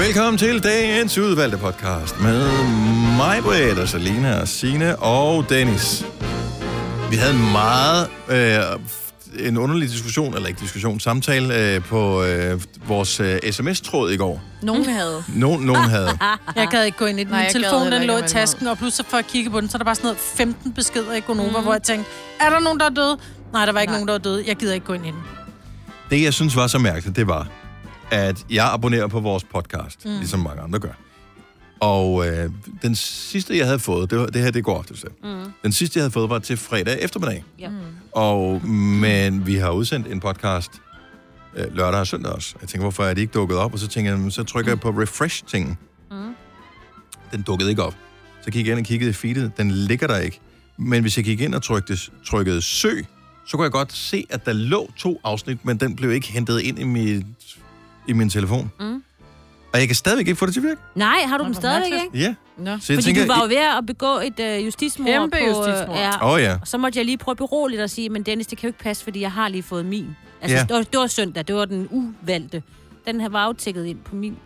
Velkommen til dagens udvalgte podcast med mig, Britt, og Salina, og Signe og Dennis. Vi havde en meget øh, en underlig diskussion, eller ikke diskussion, samtale øh, på øh, vores øh, sms-tråd i går. Nogen havde. Nogen, nogen havde. Jeg gad ikke gå ind i den. Nej, Min jeg gad telefon heller den ikke lå i at være tasken, og pludselig for at kigge på den, så er der bare sådan noget 15 beskeder i Mhm. Gonova, mm. hvor jeg tænkte, er der nogen, der er døde? Nej, der var ikke Nej. nogen, der var døde. Jeg gider ikke gå ind i den. Det, jeg synes var så mærkeligt, det var, at jeg abonnerer på vores podcast, mm. ligesom mange andre gør. Og øh, den sidste, jeg havde fået, det, var, det her, det går ofte selv. Mm. Den sidste, jeg havde fået, var til fredag eftermiddag. Ja. Mm. Og, men vi har udsendt en podcast øh, lørdag og søndag også. Jeg tænker, hvorfor er de ikke dukket op? Og så tænker jeg, "Men så trykker jeg på refresh-tingen. Mm. Den dukkede ikke op. Så gik jeg ind og kiggede i feedet. Den ligger der ikke. Men hvis jeg gik ind og trykkede, trykkede søg, så kunne jeg godt se, at der lå to afsnit, men den blev ikke hentet ind i, mit, i min telefon. Mm. Og jeg kan stadigvæk ikke få det til at virke. Nej, har Nå, du dem hvor stadigvæk, mærkeligt. ikke? Ja. Nå. Så jeg Fordi tænker, tænker, du var jo ved at begå et øh, justismord. Kæmpe på, øh, justismord. Ja. åh oh, ja. Og så måtte jeg lige prøve beroligt at sige, men Dennis, det kan jo ikke passe, fordi jeg har lige fået min. Altså, Ja. ja. det, var, det var søndag, det var den uvalgte. Den her var aftikket ind på min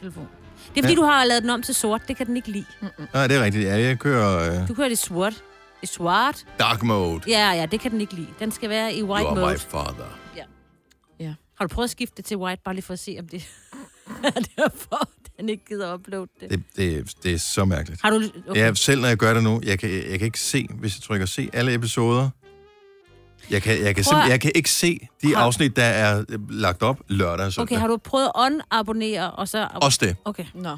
telefon. Det er fordi, Ja. ja. du har lavet den om til sort. Det kan den ikke lide. Mm. Nej, det er rigtigt. Ja, jeg kører øh, Du kører det sort. Det sort. dark mode. Ja, ja, det kan den ikke lide. Den skal være i You white are mode. my father. Har du prøvet at skifte det til white, bare lige for at se, om det er derfor, den ikke gider uploade det? Det, det, det er så mærkeligt. Har du... Okay. Jeg, selv når jeg gør det nu, jeg kan, jeg kan ikke se, hvis jeg trykker se alle episoder. Jeg kan, jeg kan, Prøv at- simpel, jeg kan ikke se de Har- afsnit, der er øh, lagt op lørdag og søndag. Okay, har du prøvet at unabonnere, og så... Også det. Okay. Nå.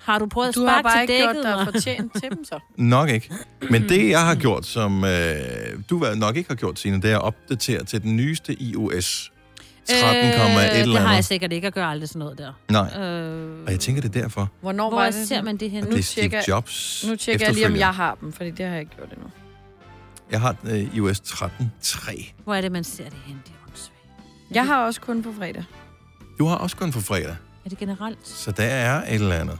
Har du prøvet at Du har sparke bare til ikke gjort dækket? dig Gjort fortjent til dem, så. Nok ikke. Men det, jeg har gjort, som øh, du nok ikke har gjort, Signe, det er at opdatere til den nyeste iOS 13,1 øh, eller Det har jeg andet. sikkert ikke. Jeg gør aldrig sådan noget der. Nej, Øh, og jeg tænker, det er derfor. Hvornår hvor var det, det? ser man det henne? Og Nu, det er Steve tjekker- Jobs Nu tjekker jeg lige, om efterfølger. jeg har dem, fordi det har jeg ikke gjort endnu. Jeg har øh, iOS 13.3. hvor er det, man ser det henne? Det er åndssvagt. Jeg har også kun på fredag. Du har også kun for fredag, Er det generelt? så der er et eller andet.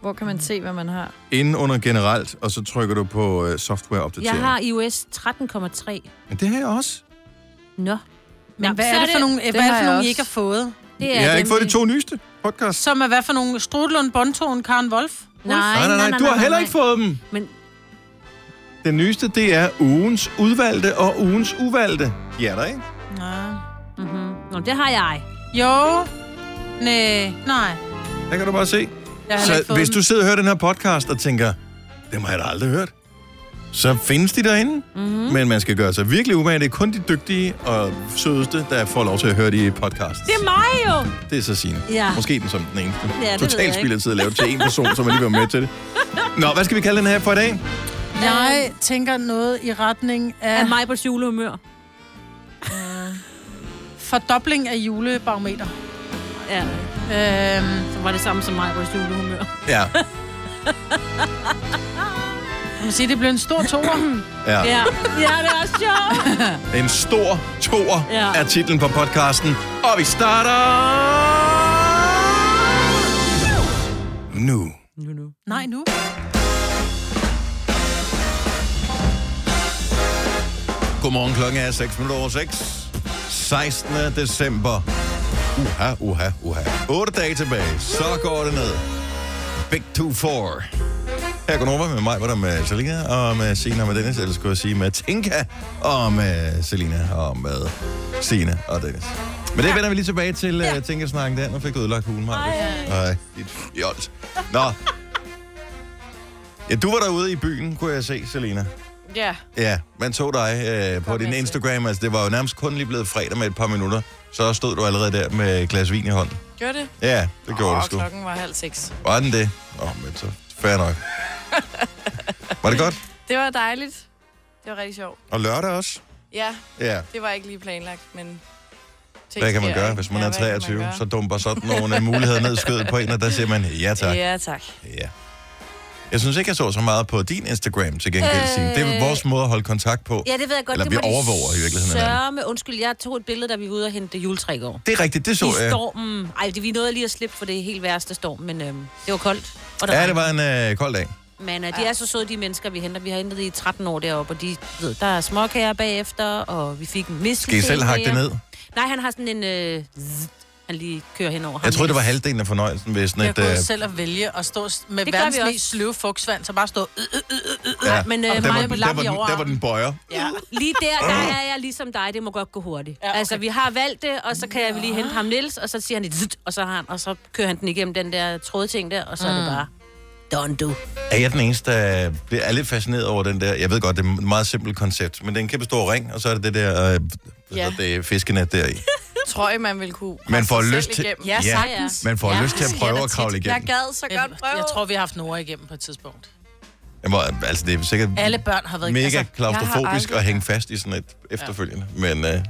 Hvor kan man se, hvad man har? Inden under generelt, og så trykker du på øh, softwareopdatering. Jeg har iOS 13,3. Men det har jeg også. Nå. Men Nå, hvad så er det for nogle, hvad har er det jeg for nogle I også. ikke har fået? Det er jeg har ikke fået de nemlig- to nyeste podcast. Som er hvad for nogle? Strudelund, Bontoen, Karen Wolf? Nej, Nej, nej, nej, du har heller ikke fået dem. Men Den nyeste, det er ugens udvalgte og ugens uvalgte. Ja, der ikke? Nej. mm-hmm. Nå, det har jeg. Jo. Næ. Nej. Der kan du bare se. Jeg har ikke Så fået hvis dem. du sidder og hører den her podcast og tænker, dem har jeg da aldrig hørt, så findes de derinde. Mm-hmm. Men man skal gøre sig virkelig umage. Det er kun de dygtige og sødeste, der får lov til at høre de podcasts. Det er mig jo! Det er så sine. Ja. Måske den som den eneste. ved jeg Totalt ikke. spild af tid at lave til en person, som alligevel er med til det. Nå, hvad skal vi kalde den her for i dag? Jeg tænker noget i retning Er af mig på julehumør. fordobling af julebarometer. Ja, Øhm, så var det samme som mig på julehumør. Ja, man sige, det blev en stor toer. ja. Ja, ja det er sjovt. En stor toer ja. Ja. er titlen på podcasten. Og vi starter... Nu. Nu, nu. Nej, nu. Godmorgen, klokken er 6 minutter over 6. 16. december. Uha, uha, uha. 8 dage tilbage, så går det ned. Big 2-4. Her går Nova med mig, hvor der med Selina, og med Sina og med Dennis, eller skulle jeg sige med Tinka, og med Selina, og med Sina og Dennis. Men det vender vi lige tilbage til ja. uh, Tinka-snakken der. Nu fik du ødelagt hulen, Maja. Nej, dit fjols. Nå. Ja, du var derude i byen, kunne jeg se, Selina. Ja. Ja, man så dig øh, på Kom din med til. Instagram. Altså, det var jo nærmest kun lige blevet fredag med et par minutter. Så stod du allerede der med et glas vin i hånden. Gør det? Ja, det gjorde du sgu. klokken var halv seks. Var den det? Nå, men så fair nok. var det godt? Det var dejligt. Det var rigtig sjovt. Og lørdag også? Ja, Ja. det var ikke lige planlagt, men... Hvad kan man gøre, hvis man er 23? Så dumper sådan nogle øh, muligheder ned i skødet på en, og der siger man ja tak. Ja, tak. Ja. Jeg synes ikke, jeg så så meget på din Instagram til gengæld, Signe. Det er vores måde at holde kontakt på. Ja, det ved jeg godt. Eller det vi må de overvåger i virkeligheden hinanden. Sørme. Undskyld, jeg tog et billede, da vi var ude og hente juletræ i går. Det er rigtigt, det så I jeg. stormen. Ej, det, vi nåede lige at slippe for det helt værste storm, men øhm, det var koldt. Og der Ja, det regnede. var en øh, kold dag. Men øh, de er så søde, de mennesker, vi henter. Vi har hentet i 13 år deroppe, og de, ved, der er småkager bagefter, og vi fik en mistel. Skal I selv hakke det ned? Nej, han har sådan en... Øh, zzz. han han lige kører henover. Jeg tror det var halvdelen af fornøjelsen ved sådan Jeg et... kunne øh, jo selv at vælge at stå s- med Det gør verdens vi også. mest sløve fugtsvand, så bare stå... Øh, øh, øh, øh, øh. Nej, men, øh, der, var, mig den- på der, lap var i den, der var overarmen. den bøjer. Ja. Lige der, der er jeg ligesom dig, det må godt gå hurtigt. Ja, okay. Altså, vi har valgt det, og så kan jeg lige hente ham Nils, og så siger han et zut, og så, har han, og så kører han den igennem den der trådting der, og så mm. er det bare done do. Er jeg den eneste, der bliver er lidt fascineret over den der... Jeg ved godt, det er et meget simpelt koncept, men den kan bestå af ring, og så er det det der øh, Ja. ja. det fiskenet der i. Tror jeg, man ville kunne Man får sig selv lyst til- igennem. Ja, Ja. sagtens. Man får ja. lyst til at det sker prøve da at kravle tit. igennem. Jeg gad så øh." Jeg, godt prøve. jeg tror, vi har haft Nora igennem på et tidspunkt. Jeg må, altså, det er sikkert Alle børn har været mega Altså, klaustrofobisk aldrig- at hænge fast i sådan et efterfølgende, men, øh,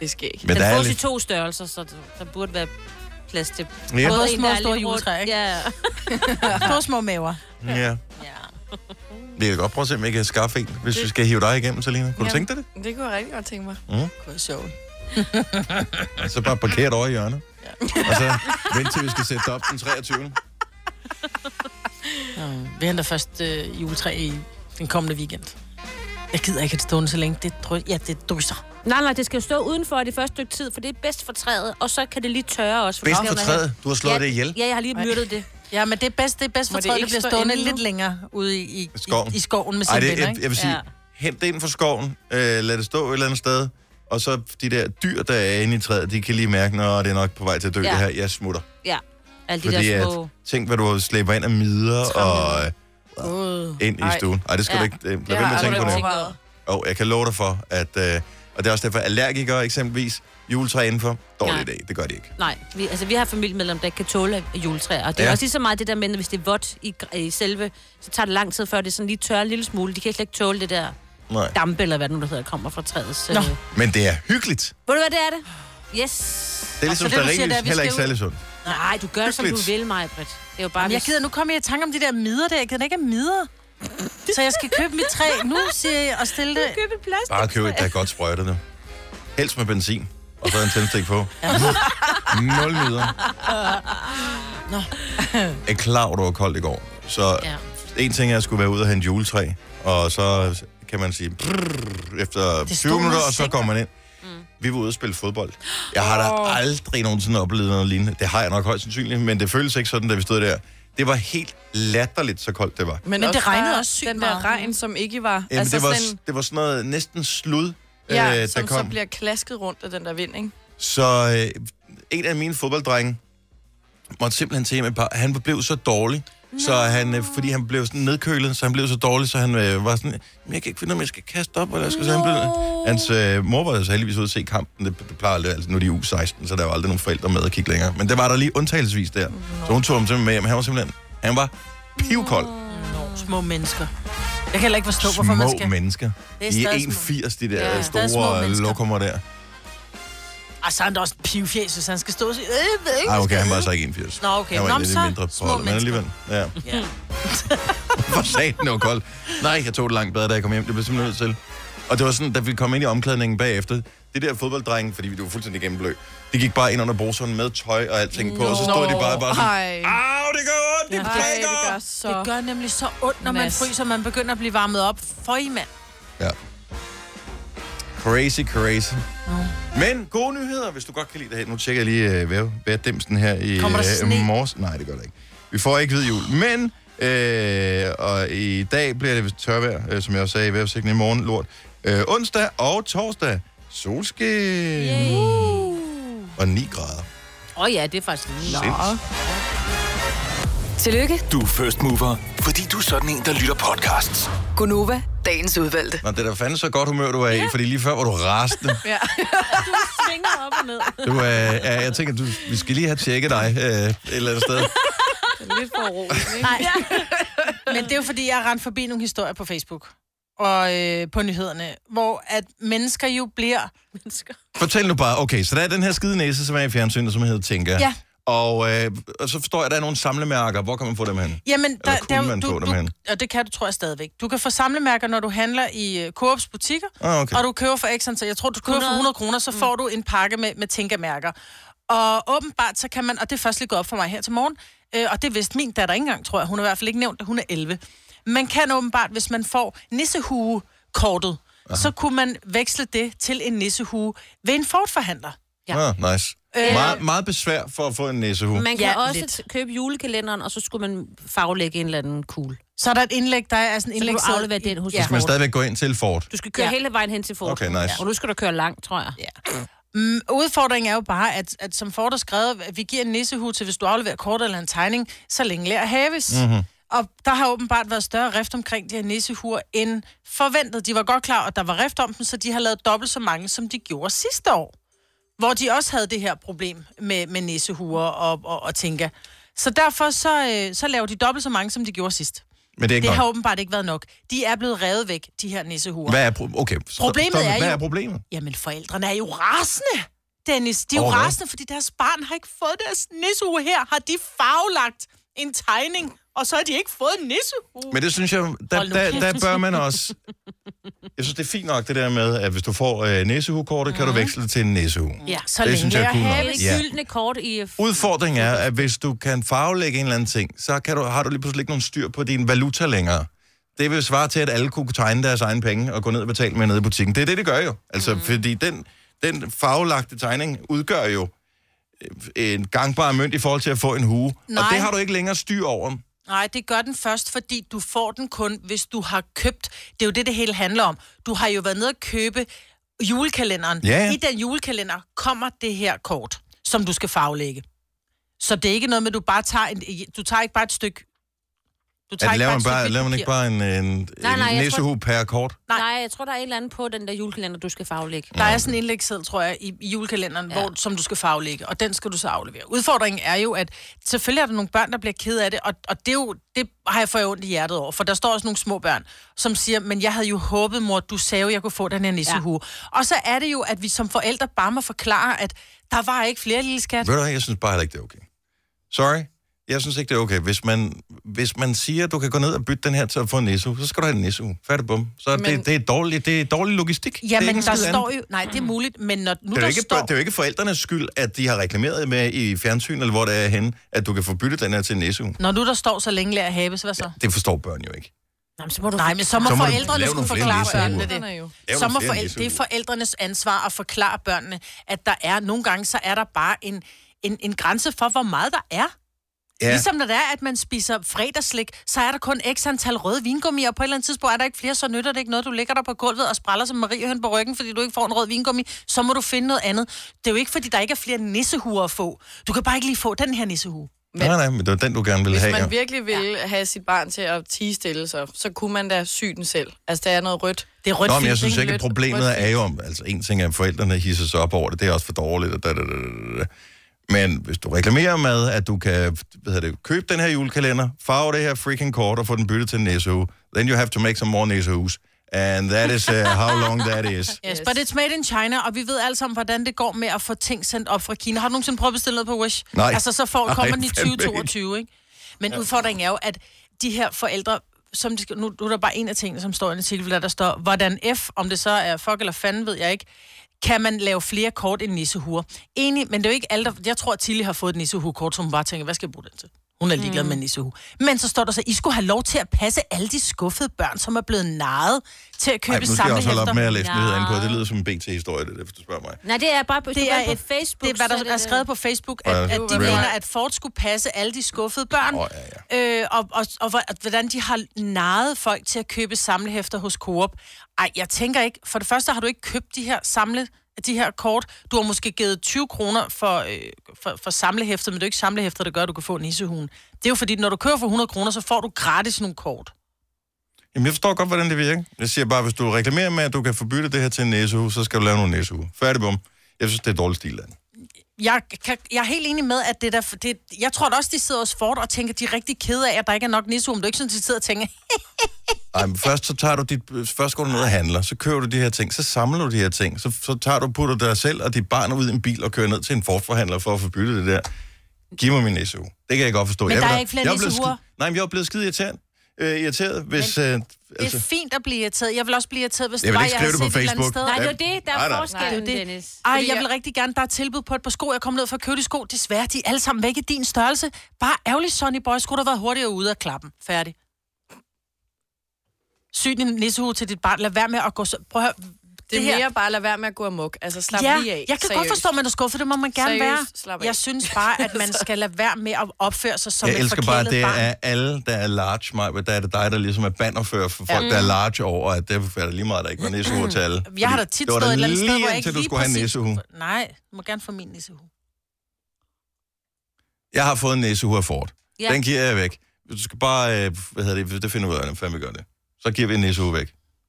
det sker ikke. men Den der er fås i lidt... to størrelser, så der, der burde være plads til Ja. Både en, små der er og store lidt rundt. juletræer, ikke? Ja. små, små maver. Ja. Ja. Vi kan godt prøve at se, om jeg kan skaffe en, hvis vi skal hive dig igennem, Selina. Kunne ja. Ja. du tænke dig det? Det kunne jeg rigtig godt tænke mig. Det kunne være sjovt. Og så Altså, bare parkere det over i hjørnet. Ja. Og så vent til, vi skal sætte det op den 23. Mm. Vi henter først øh, juletræ i den kommende weekend. Jeg gider ikke have det stående så længe. Det, drø- ja, det drysser. Nej, nej, det skal jo stå udenfor det første stykke tid, for det er bedst for træet, og så kan det lige tørre også. Bedst det for kommer træet. Du har slået ja, det ihjel. Ja, jeg har lige myrdet det. Ja, men det er bedst, det er bedst Må for det træet, ikke det bliver stå stående inde nu? lidt længere ude i, i, Skoven. i, i skoven med Ej, det, sine venner, jeg, ikke? jeg vil sige, ja. Ja. hent det ind fra skoven, øh, lad det stå et eller andet sted, og så de der dyr, der er inde i træet, de kan lige mærke, når det er nok på vej til at dø ja. Ja. det her. Jeg smutter. Ja, alle de Fordi der at, små... tænk, hvad du slæber ind af midler og øh, Uh. ind i Ej. stuen. Ej, det skal ja. Ja. du ikke... Øh, lad Det være med har at jeg tænke aldrig på det. overvejet. Og jeg kan love dig for, at... Øh, og det er også derfor, allergikere eksempelvis, juletræ indenfor, dårlig idé, Nej. det gør de ikke. Nej, vi, altså vi har familiemedlemmer, der ikke kan tåle juletræer. Og det er Ja. ja. også lige så meget det der med, at hvis det er vådt i, gr- i selve, så tager det lang tid, før det sådan lige tørrer en lille smule. De kan slet ikke tåle det der Nej. dampe, eller hvad det nu der hedder, kommer fra træet. Så, Nå. Ved Men det er hyggeligt. du hvad, det er det? Yes. Det er ligesom det, du siger, stearinlys, det er, vi heller ikke skal særlig sundt. Nej, du gør, som du Hyggeligt. vil, mig, Britt. Det er jo bare... Jeg hvis- gider, nu kommer jeg i tanke om de der midder der. Jeg gider ikke have midder. Så jeg skal købe mit træ nu, siger jeg, og stille det. købe et plastik. Bare køb et, der er godt sprøjtet nu. Helst med benzin. Og så en tændstik på. Nul midler. Nå. Jeg er klar, over, det var koldt i går. Så Ja. en ting er, at jeg skulle være ude og hente juletræ. Og så kan man sige, brrr, efter Det 20 stod minutter, noget og så sikkert. går man ind. Vi var ude og spille fodbold. Jeg har da aldrig nogensinde oplevet noget lignende. Det har jeg nok højst sandsynligt, men det føltes ikke sådan, da vi stod der. Det var helt latterligt, så koldt det var. Men det også regnede bare også sygt Den der meget. regn, som ikke var... Jamen, altså det, var, sådan, sådan... det var sådan noget næsten slud, ja, øh, der som kom. så bliver klasket rundt af den der vind, ikke? Så øh, en af mine fodbolddrenge måtte simpelthen til med par. Han blev så dårlig, så han, øh, fordi han blev sådan nedkølet, så han blev så dårlig, så han øh, var sådan, "Men jeg kan ikke finde, ud af, om jeg skal kaste op, eller jeg skal så han blev, Hans øh, mor var jo så heldigvis ude at se kampen. Det, det plejer aldrig, altså nu er de i U16, så der var aldrig nogen forældre med at kigge længere. Men det var der lige undtagelsesvis der. Så hun tog ham simpelthen med hjem. Han var simpelthen, han var pivkold. Nå, små mennesker. Jeg kan heller ikke forstå, hvorfor man Små skal... mennesker. Det er De er stadig små. 1,80, de der Ja. ja, Stadig små store mennesker. lokummer der. Ej, så er han da også en pivfjæs, hvis han skal stå og sige... Øh, ved ikke, Ej, hvad Ah, okay, skal han var jeg så ikke 81. Nå, okay. Han var Nå, Nå, lidt så mindre på små holdet, men mennesker. alligevel. Ja. hedde?" Ja. For satan, det var koldt. Nej, jeg tog det langt bedre, da jeg kom hjem. Det blev jeg simpelthen nødt til. Og det var sådan, da vi kom ind i omklædningen bagefter, det der fodbolddreng, fordi vi var fuldstændig gennemblød, de gik bare ind under bruseren med tøj og alting på, og så stod de bare, bare sådan, Ej, Au, det gør ondt, ej, det det gør prikker! så... Det gør nemlig så ondt, når man Mads. fryser, man begynder at blive varmet op. For i mand. Ja. Crazy, crazy. Men gode nyheder, hvis du godt kan lide det her. Nu tjekker jeg lige øh, vejr, vejrdimsen her i Kommer der sne? øh, morges. Nej, det gør der ikke. Vi får ikke hvid jul, men... Øh, og i dag bliver det vist tørvejr, øh, som jeg også sagde i vejrudsigten i morgen, lort. Øh, onsdag og torsdag, solskin og 9 grader. Åh oh, ja, det er faktisk lige. Ah. Sinds. Tillykke, Du er first mover, fordi du er sådan en, der lytter podcasts. Gunova, dagens udvalgte. Nå, det er da fandme så godt humør, du er i, fordi lige før var du rasende. Ja. svinger op og ned. Du, øh, ja, jeg tænker, du, vi skal lige have tjekket dig øh, et eller andet sted. Lidt for roligt, ikke? Nej. Men det er jo fordi, jeg rendte forbi nogle historier på Facebook og øh, på nyhederne, hvor at mennesker jo bliver... Mennesker. Fortæl nu bare, okay, så der er den her skide næse, som er i fjernsynet, som hedder Tinka. Ja. Og, øh, og så forstår jeg, at der er nogle samlemærker. Hvor kan man få dem hen? Jamen, der, kunne man få du, dem du, hen? Og det kan du, tror jeg, stadigvæk. Du kan få samlemærker, når du handler i øh, Coops butikker, Ah, okay. og du køber for ekstra, så jeg tror, du køber for 100 kroner, så Mm. får du en pakke med, med Tinka-mærker. Og åbenbart, så kan man, og det er først lige gået op for mig her til morgen, øh, og det vidste min datter ikke engang, tror jeg. Hun er i hvert fald ikke nævnt, at hun er 11. Man kan åbenbart, hvis man får nissehue-kortet, så kunne man veksle det til en nissehue ved en fortforhandler. Ja. Ah, nice. Øh. Meget, meget besvær for at få en næsehue. Man kan Ja, ja, også lidt. lidt. købe julekalenderen, og så skulle man faglægge en eller anden kugle. Så Så er der et indlæg, der er sådan en kan indlæg, du aflevere den hos Ja. ja. Skal man stadigvæk gå ind til Ford? Du skal køre Ja. ja. hele vejen hen til Fort. Okay, nice. Og nu skal du køre langt, tror jeg. Ja. Mm, Udfordringen er jo bare, at, at som Ford har skrevet, at vi giver en nissehue til, hvis du afleverer kort eller en tegning, så længe lærer haves. Mm-hmm. Og der har åbenbart været større rift omkring de her nissehuer end forventet. De var godt klar, at der var rift om dem, så de har lavet dobbelt så mange, som de gjorde sidste år. Hvor de også havde det her problem med, med nissehuer og, og, og tænker. Så derfor så, øh, så laver de dobbelt så mange, som de gjorde sidst. Men det er ikke Det har godt. åbenbart ikke været nok. De er blevet revet væk, de her nissehuer. Hvad er pro- okay, stop- Problemet stop med, er Hvad jo- er problemet? Jamen, forældrene er jo rasende, Dennis. De er jo Over hvad? rasende, fordi deres barn har ikke fået deres nissehue her. Har de farvelagt en tegning, og så har de ikke fået en nissehue. Men det synes jeg, der, Hold nu der, kæft. der bør man også... Jeg synes, det er fint nok det der med, at hvis du får øh, næsehukortet, kan du Mm. veksle det til en næsehue. Ja. Så det længe synes jeg er jeg cool nok. Det har er det Ja. gyldne kort i... Udfordringen er, at hvis du kan farvelægge en eller anden ting, så kan du, har du lige pludselig ikke nogen styr på din valuta længere. Det vil svare til, at alle kunne tegne deres egne penge og gå ned og betale med nede i butikken. Det er det, det gør jo. Altså, Mhm. mm. fordi den, den farvelagte tegning udgør jo øh, en gangbar mønt i forhold til at få en hue. Nej. Og Nej. det har du ikke længere styr over. Nej, det gør den først, fordi du får den kun, hvis du har købt. Det er jo det, det hele handler om. Du har jo været nede og købe julekalenderen. Ja, ja. I den julekalender kommer det her kort, som du skal farvelægge. Så det er ikke noget med, at du bare tager, en, du tager ikke bare et stykke... Du At laver, man stykke bare, hvidt laver man ikke papir. bare en, en, Nej, nej, en jeg næsehue per kort? Nej. Nej, jeg tror, der er et eller andet på den der julekalender, du skal faglægge. Der er sådan en indlægsseddel, tror jeg, i, i julekalenderen, ja. hvor, som du skal faglægge, og den skal du så aflevere. Udfordringen er jo, at selvfølgelig er der nogle børn, der bliver ked af det, og, og det, er jo, det har jeg fået ondt i hjertet over, for der står også nogle små børn, som siger, men jeg havde jo håbet, mor, du sagde jo, jeg kunne få den her nissehue. Ja. Og så er det jo, at vi som forældre bare må forklare, at der var ikke flere lille skat. Ved du hvad, jeg synes bare heller ikke, det er okay. Sorry. Jeg synes ikke, det er okay. Hvis man, hvis man siger, at du kan gå ned og bytte den her til at få en nissehue, så skal du have en nissehue. Færdig bum. Så Men... det, det, er dårlig, det er dårlig logistik. det er Jamen, ikke en der skid andet. står jo... Nej, det er muligt, men når nu Det er, der jo ikke, står... det er jo ikke forældrenes skyld, at de har reklameret med i fjernsyn, eller hvor det er henne, at du kan få byttet den her til en nissehue. Når nu der står så længe lærer have, så hvad så? Det forstår børn jo ikke. Jamen, så må du... Nej, men så må, Så må du forældrene lave nogle skulle flere forklare nissehuer. børnene det. Forældrene jo. Lave Så nogle må flere forældre, det er nissehuer. forældrenes ansvar at forklare børnene, at der er nogle gange, så er der bare en, en, en grænse for, hvor meget der er. Ja. Ligesom når det er, at man spiser fredagslik, så er der kun x antal røde vingummier, og på et eller andet tidspunkt er der ikke flere, så nytter det ikke noget. Du ligger der på gulvet og spræller som Marie Høn på ryggen, fordi du ikke får en rød vingummi, så må du finde noget andet. Det er jo ikke, fordi der ikke er flere nissehuer at få. Du kan bare ikke lige få den her nissehue. Nej, nej, men det var den, du gerne ville Hvis have. man jo. virkelig ville have sit barn til at tige stille sig, så kunne man da sy den selv. Altså, der er noget rødt. Det er rødt Nå, men jeg fint, synes ikke? ikke, at Lidt problemet rødt er jo, om- altså en ting er, at forældrene hisser sig op over det, det er også for dårligt, og da, da, da, da, da. men hvis du reklamerer med, at du kan hvad hedder det, købe den her julekalender, farve det her freaking kort og få den byttet til en næsehue, then you have to make some more næsehues. And that is uh, how long that is. Yes, Yes. but it's made in China, og vi ved alle sammen, hvordan det går med at få ting sendt op fra Kina. Har du nogensinde prøvet at bestille noget på Wish? Nej. Altså, så får, kommer Nej, den i fandme ikke. 2022, ikke? Men udfordringen er jo, at de her forældre, som de, skal- nu, nu er der bare en af tingene, som står i en artikel, der, der står, hvordan F, om det så er fuck eller fanden, ved jeg ikke, kan man lave flere kort end nissehuer. Enig, men det er jo ikke alle, der, jeg tror, at Tilly har fået et nissehue-kort, så hun bare tænker, hvad skal jeg bruge den til? Hun er ligeglad mm. med en nissehue. Men så står der så, I skulle have lov til at passe alle de skuffede børn, som er blevet narret til at købe Ej, nu skal jeg også holde op samlehæfter." med at læse nyheder ind på. Ja. Det lyder som en BT-historie, det der, hvis du spørger mig. Nej, det er bare... Hvis det du Det er er, på et, Facebook, det er, hvad så der er, skrevet på Facebook, at, Ja, at det de var- mener, at Ford skulle passe alle de skuffede børn, Åh, oh, ja, ja, ja. Øh, og, og, og hvor- at hvordan de har naret folk til at købe samlehæfter hos Coop. Ej, jeg tænker ikke, for det første har du ikke købt de her samle de her kort. Du har måske givet 20 kroner for, øh, for, for samlehæftet, men det er jo ikke samlehæftet, der gør, at du kan få en nissehuen. Det er jo fordi, når du kører for 100 kroner, så får du gratis nogle kort. Jamen, jeg forstår godt, hvordan det virker. Jeg siger bare, hvis du reklamerer med, at du kan få byttet det her til en næsehue, så skal du lave nogle næsehue. Færdig bum. Jeg synes, det er dårlig stil, Dan. jeg, kan, jeg er helt enig med, at det der... Det, jeg tror da også, de sidder hos Ford og tænker, de er rigtig kede af, at der ikke er nok nissehue. Men det er ikke sådan, de sidder og tænker, Ej, men først så tager du dit, først går du ned og handler, så køber du de her ting, så samler du de her ting, så, så tager du, putter dig selv og dit barn ud i en bil og kører ned til en forforhandler for at få byttet det der. Giv mig min SU. Det kan jeg godt forstå. Men jeg der vil er da- ikke flere jeg er blevet nissehuer. skide- Nej, men jeg er blevet skide irriteret. Øh, irriteret hvis, øh, det altså, er fint at blive irriteret. Jeg vil også blive irriteret, hvis Jeg det vil var, ikke jeg havde skrive det set på et eller andet Facebook. sted. Nej, det er jo Ja. det, der Nej, er nej. forskellen, Det er jo det. Dennis. Ej, Fordi jeg vil jeg- rigtig gerne. Der er tilbud på et par sko. Jeg kom ned for at købe de sko. Desværre, de er alle sammen væk i din størrelse. Bare ærgerlig, Sonny Boy. Skulle du have været hurtigere ude af klappen. Færdig. Syg din nissehue til dit barn. Lad være med at gå så... Prøv at høre. Det, Det det er her- mere bare at lade være med at gå amok. Altså, slap ja, lige af. jeg kan godt Seriøst. forstå, at man er skuffet, det må man gerne Seriøst, være. slap af. Jeg synes bare, at man skal lade være med at opføre sig som jeg et elsker bare, at forkælet det barn. er alle, der er large, Maja, men der er det dig, der ligesom er bannerfører for folk, ja. der er large over, at det er der lige meget, der ikke var nissehue til alle. Mm. Jeg har da Fordi tit det var stået et eller andet lige sted, hvor jeg indtil ikke du lige skulle have en præcis- nissehue. Nej, du må gerne få min nissehue. Jeg har fået en nissehue af Ford. Ja. Ja. Den giver jeg væk. Du skal bare, øh, hvad hedder det, det finder vi ud af, hvordan fanden vi gør det. Så giver vi en nissehue væk.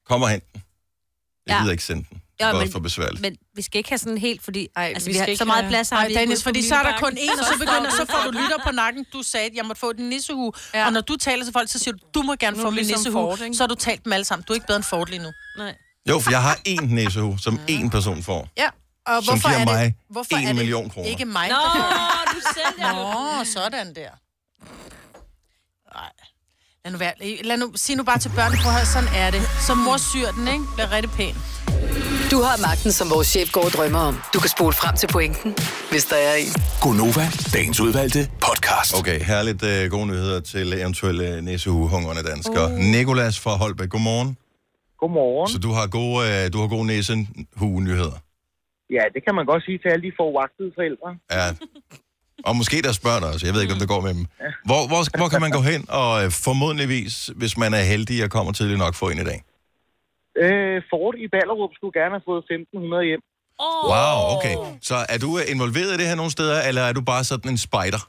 Kom og hent den. Jeg Ja. gider ikke sende den. Det Ja, er men- også for besværligt. Men vi skal ikke have sådan helt, fordi Ej, Ej, altså, vi vi, vi skal har ikke så meget have- plads har Nej, vi Dennis, ude på fordi så er der kun Møllebakken. en, og så begynder, så får du lytter på nakken. Du sagde, at jeg måtte få den nissehue. Ja. Ja. Og når du taler til folk, så siger du, du må gerne Nu er få du min ligesom nissehue. Ford, ikke? så har du talt dem alle sammen. Du er ikke bedre end Ford lige nu. Nej. Jo, for jeg har én nissehue, som én person får. Ja. Og Som giver mig hvorfor en er det million kroner. Ikke mig. Nå, du sælger den. Nå, sådan der. Nej. Lad nu være. Lad nu, sig nu bare til børnene, prøv at høre, sådan er det. Så mor syr den, ikke? Bliver rigtig pæn. Du har magten, som vores chef går og drømmer om. Du kan spole frem til pointen, hvis der er en. Gonova, dagens udvalgte podcast. Okay. Okay, herligt øh, gode nyheder til eventuelle næsehugehungerne Oh. danskere. Uh. Nikolas fra Holbæk, godmorgen. Godmorgen. Så du har gode, øh, du har gode næsehugenyheder. Ja, det kan man godt sige til alle de forvagtede forældre. Ja. Og måske der spørger dig også, jeg ved ikke, om det går med dem. Hvor, hvor, hvor kan man gå hen og øh, formodentligvis, hvis man er heldig og kommer tidligt nok, få en i dag? Øh, Ford i Ballerup skulle gerne have fået 1.500 hjem. Åh. Wow, okay. Så er du øh, involveret i det her nogle steder, eller er du bare sådan en spider?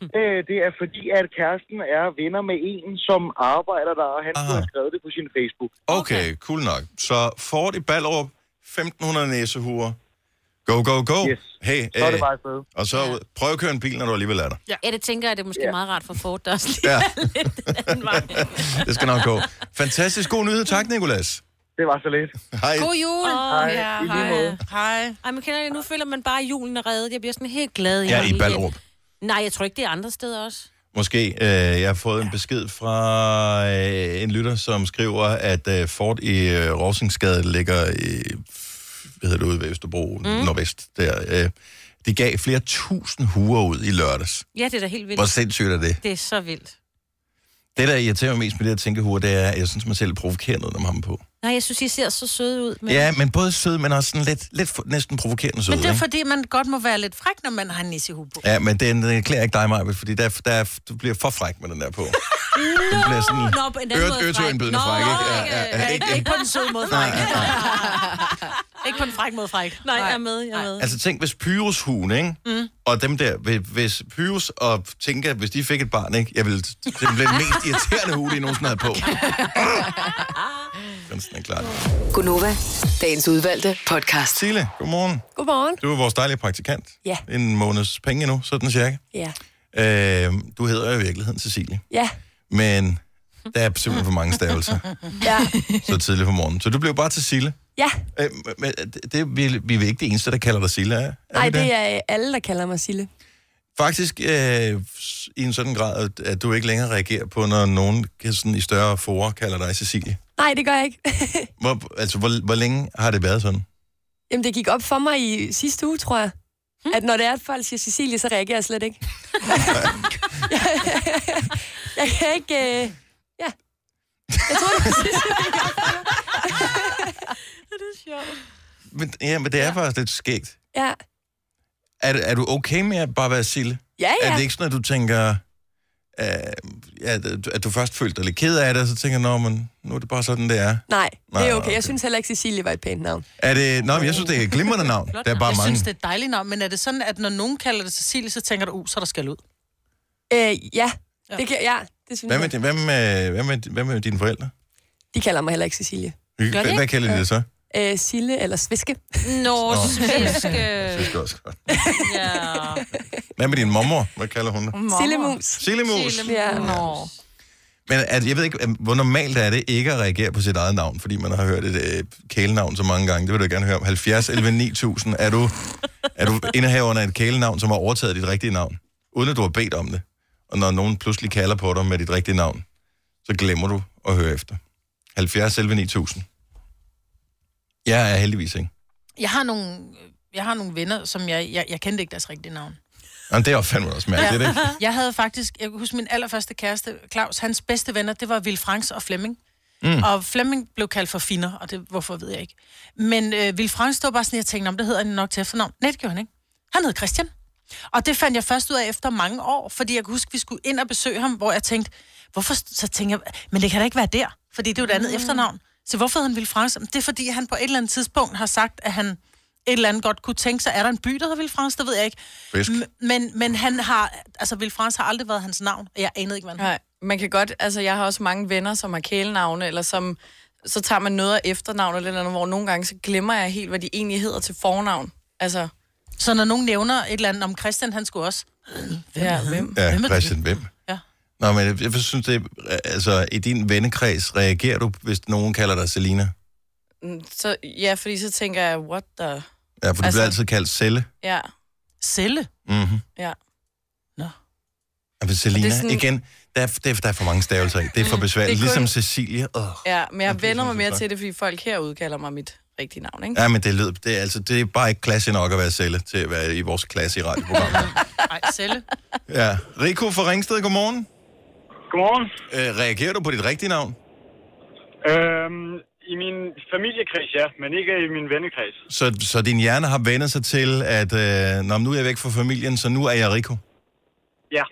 Mm. Øh, det er fordi, at kæresten er venner med en, som arbejder der, og han Aha. skulle have skrevet det på sin Facebook. Okay, cool nok. Så Ford i Ballerup, 1.500 næsehuer. Go, go, go. Yes. Hey, Så er øh, det bare afsted. og så ud. prøv at køre en bil, når du alligevel er der. Ja, det tænker jeg, det er måske Ja. meget rart for Ford, der også lige Ja. ja. lidt den anden vej. Det skal nok gå. Fantastisk god nyhed. Tak, Nikolas. Det var så lidt. Hej. God jul! Åh, ja, i lige hej. måde. Hej. Ej, men kender jeg, nu føler man bare, at julen er reddet. Jeg bliver sådan helt glad i Jeg er mig i igen. Ballerup. Nej, jeg tror ikke, det er andre steder også. Måske. Øh, jeg har fået en besked fra øh, en lytter, som skriver, at øh, Ford i øh, Rosingsgade ligger i, hvad hedder det, ude ved Østerbro, mm. nordvest der. Øh, de gav flere tusind huer ud i lørdags. Ja, det er da helt vildt. Hvor sindssygt er det? Det er så vildt. Det, der irriterer mig mest med det at tænke huer, det er, at jeg synes, man selv provokerer noget, når man har dem på. Nej, jeg synes, I ser så søde ud. Men... Men... Ja, men både sød, men også sådan lidt, lidt for- næsten provokerende sød. Men det er ikke? fordi, man godt må være lidt fræk, når man har en nissehue på. Ja, men den, den klæder øh, ikke dig, Maja, fordi der, der, du bliver for fræk med den der på. Du bliver sådan Nå, på en anden måde fræk. øretøindbydende Nå, fræk, ikke? Ja, ikke, ja, ja, ikke, ikke. Ikke på den søde måde fræk. Ikke på den fræk måde fræk. Nej, jeg er med, jeg er med. Altså tænk, hvis Pyrus-huen, ikke? Mm. Og dem der, hvis- hvis Pyrus og Tinka, hvis de fik et barn, ikke? Jeg ville, det ville blive den mest irriterende hue, de nogensinde havde på. Den er klart. Gunova, dagens udvalgte podcast. Sile, godmorgen. Godmorgen. Du er vores dejlige praktikant. Ja. En måneds penge endnu, sådan cirka. Ja. Øh, du hedder jo i virkeligheden Cecilie, Ja. men der er simpelthen for mange stavelser Ja. så tidligt på morgenen. Så du blev bare til Sille. ja. Øh, men det, det, vi, vi er ikke det eneste, der kalder dig Silla, er, er Nej, vi det er øh, alle, der kalder mig Sille. Faktisk øh, s- i en sådan grad, at- at du ikke længere reagerer på, når nogen kan sådan, i større forer kalder dig Cecilie. Nej, det gør jeg ikke. Hvor, altså, hvor, hvor længe har det været sådan? Jamen, det gik op for mig i sidste uge, tror jeg. At når det er, at folk siger Cecilie, så reagerer jeg slet ikke. jeg kan ikke... Øh... Ja. Jeg tror, det var sidste Men, ja, men det er ja. faktisk lidt skægt. Ja. Er, er du okay med at bare være Sille? Ja, Er det ja. ikke sådan, at du tænker, øh, at, at du først følte dig lidt ked af det, og så tænker, nå, men nu er det bare sådan, det er. Nej, det Nej, er okay. okay. Jeg synes heller ikke, Cecilie var et pænt navn. er det, nå, men jeg synes, det er et glimrende navn. Der er bare Jeg mange. synes, det er et dejligt navn, men er det sådan, at når nogen kalder det Cecilie, så tænker du, uh, så er der skal ud? Øh, ja. Det kan, ja, det synes Hvad med, jeg. din- hvad, med, hvad, med, hvad med dine forældre? De kalder mig heller ikke Cecilie. Hvad, det? hvad kalder de det så? Øh, Sille eller Sviske. Nå, Nå. sviske. Det skal også godt. Ja. Hvad med din mormor? Hvad kalder hun dig? Mm. Sille Mus. Sillemus. Ja. Nå. Men at, jeg ved ikke, at, hvor normalt er det ikke at reagere på sit eget navn, fordi man har hørt et øh, kælenavn så mange gange. Det vil du gerne høre om. 70, 11, 9000. Er du, er du indehaveren af et kælenavn, som har overtaget dit rigtige navn, uden at du har bedt om det? Og når nogen pludselig kalder på dig med dit rigtige navn, så glemmer du at høre efter. 70, 11, 9000. Jeg er heldigvis ikke. Jeg har nogle, øh, jeg har nogle venner, som jeg, jeg, jeg kendte ikke deres rigtige navn. Jamen, det er jo fandme også mærkeligt, ikke? Jeg havde faktisk, jeg kan huske min allerførste kæreste, Claus, hans bedste venner, det var Ville Franks og Flemming. Mm. Og Flemming blev kaldt for Finner, og det, hvorfor ved jeg ikke. Men øh, Ville Frank stod bare sådan, jeg tænkte, om det hedder han nok til efternavn. Nej, det gjorde han ikke. Han hed Christian. Og det fandt jeg først ud af efter mange år, fordi jeg kan huske, vi skulle ind og besøge ham, hvor jeg tænkte, hvorfor, så tænker jeg, men det kan da ikke være der, fordi det er jo et andet mm. efternavn. Så hvorfor hed han Ville Frank? Det er fordi, han på et eller andet tidspunkt har sagt, at han et eller andet godt kunne tænke sig, er der en by, der hedder Ville Frans? Det ved jeg ikke. Fisk. M- Men, men han har, altså Ville Frans har aldrig været hans navn, og jeg anede ikke, hvad han Nej, man kan godt, altså jeg har også mange venner, som har kælenavne, eller som, så tager man noget af efternavn eller et eller andet, hvor nogle gange, så glemmer jeg helt, hvad de egentlig hedder til fornavn. Altså, Så når nogen nævner et eller andet om Christian, han skulle også... Hvem ja, er han? hvem? Hvem Ja, er det? Christian, hvem? Ja. Nå, men jeg, jeg synes, det er- altså, i din vennekreds reagerer du, hvis nogen kalder dig Selina. Mm, Så, ja, fordi så tænker jeg, what the... Ja, for du Altså- bliver altid kaldt Selle. Ja, Celle. Mm-hmm. ja. Ja, for Selina, Og det er sådan- sådan... Mm. igen, der er, det er, der er for mange stavelser i. Det er for besværligt. Det er kun- Ligesom Cecilie. Oh. Ja, men Okay, jeg vender så mig er det mere flot. til det, fordi folk herude kalder mig mit rigtige navn, ikke? Ja, men det, lød, det, er, altså, det er bare ikke klasse nok at være Selle til at være i vores klasse i radioprogrammet. Nej, Celle. ja. Rico fra Ringsted, godmorgen. Godmorgen. Øh, reagerer du på dit rigtige navn? Øhm, I min familiekreds, ja, men ikke i min vennekreds. Så, så din hjerne har vendt sig til, at øh, når nu er jeg væk fra familien, så nu er jeg Rico. Ja.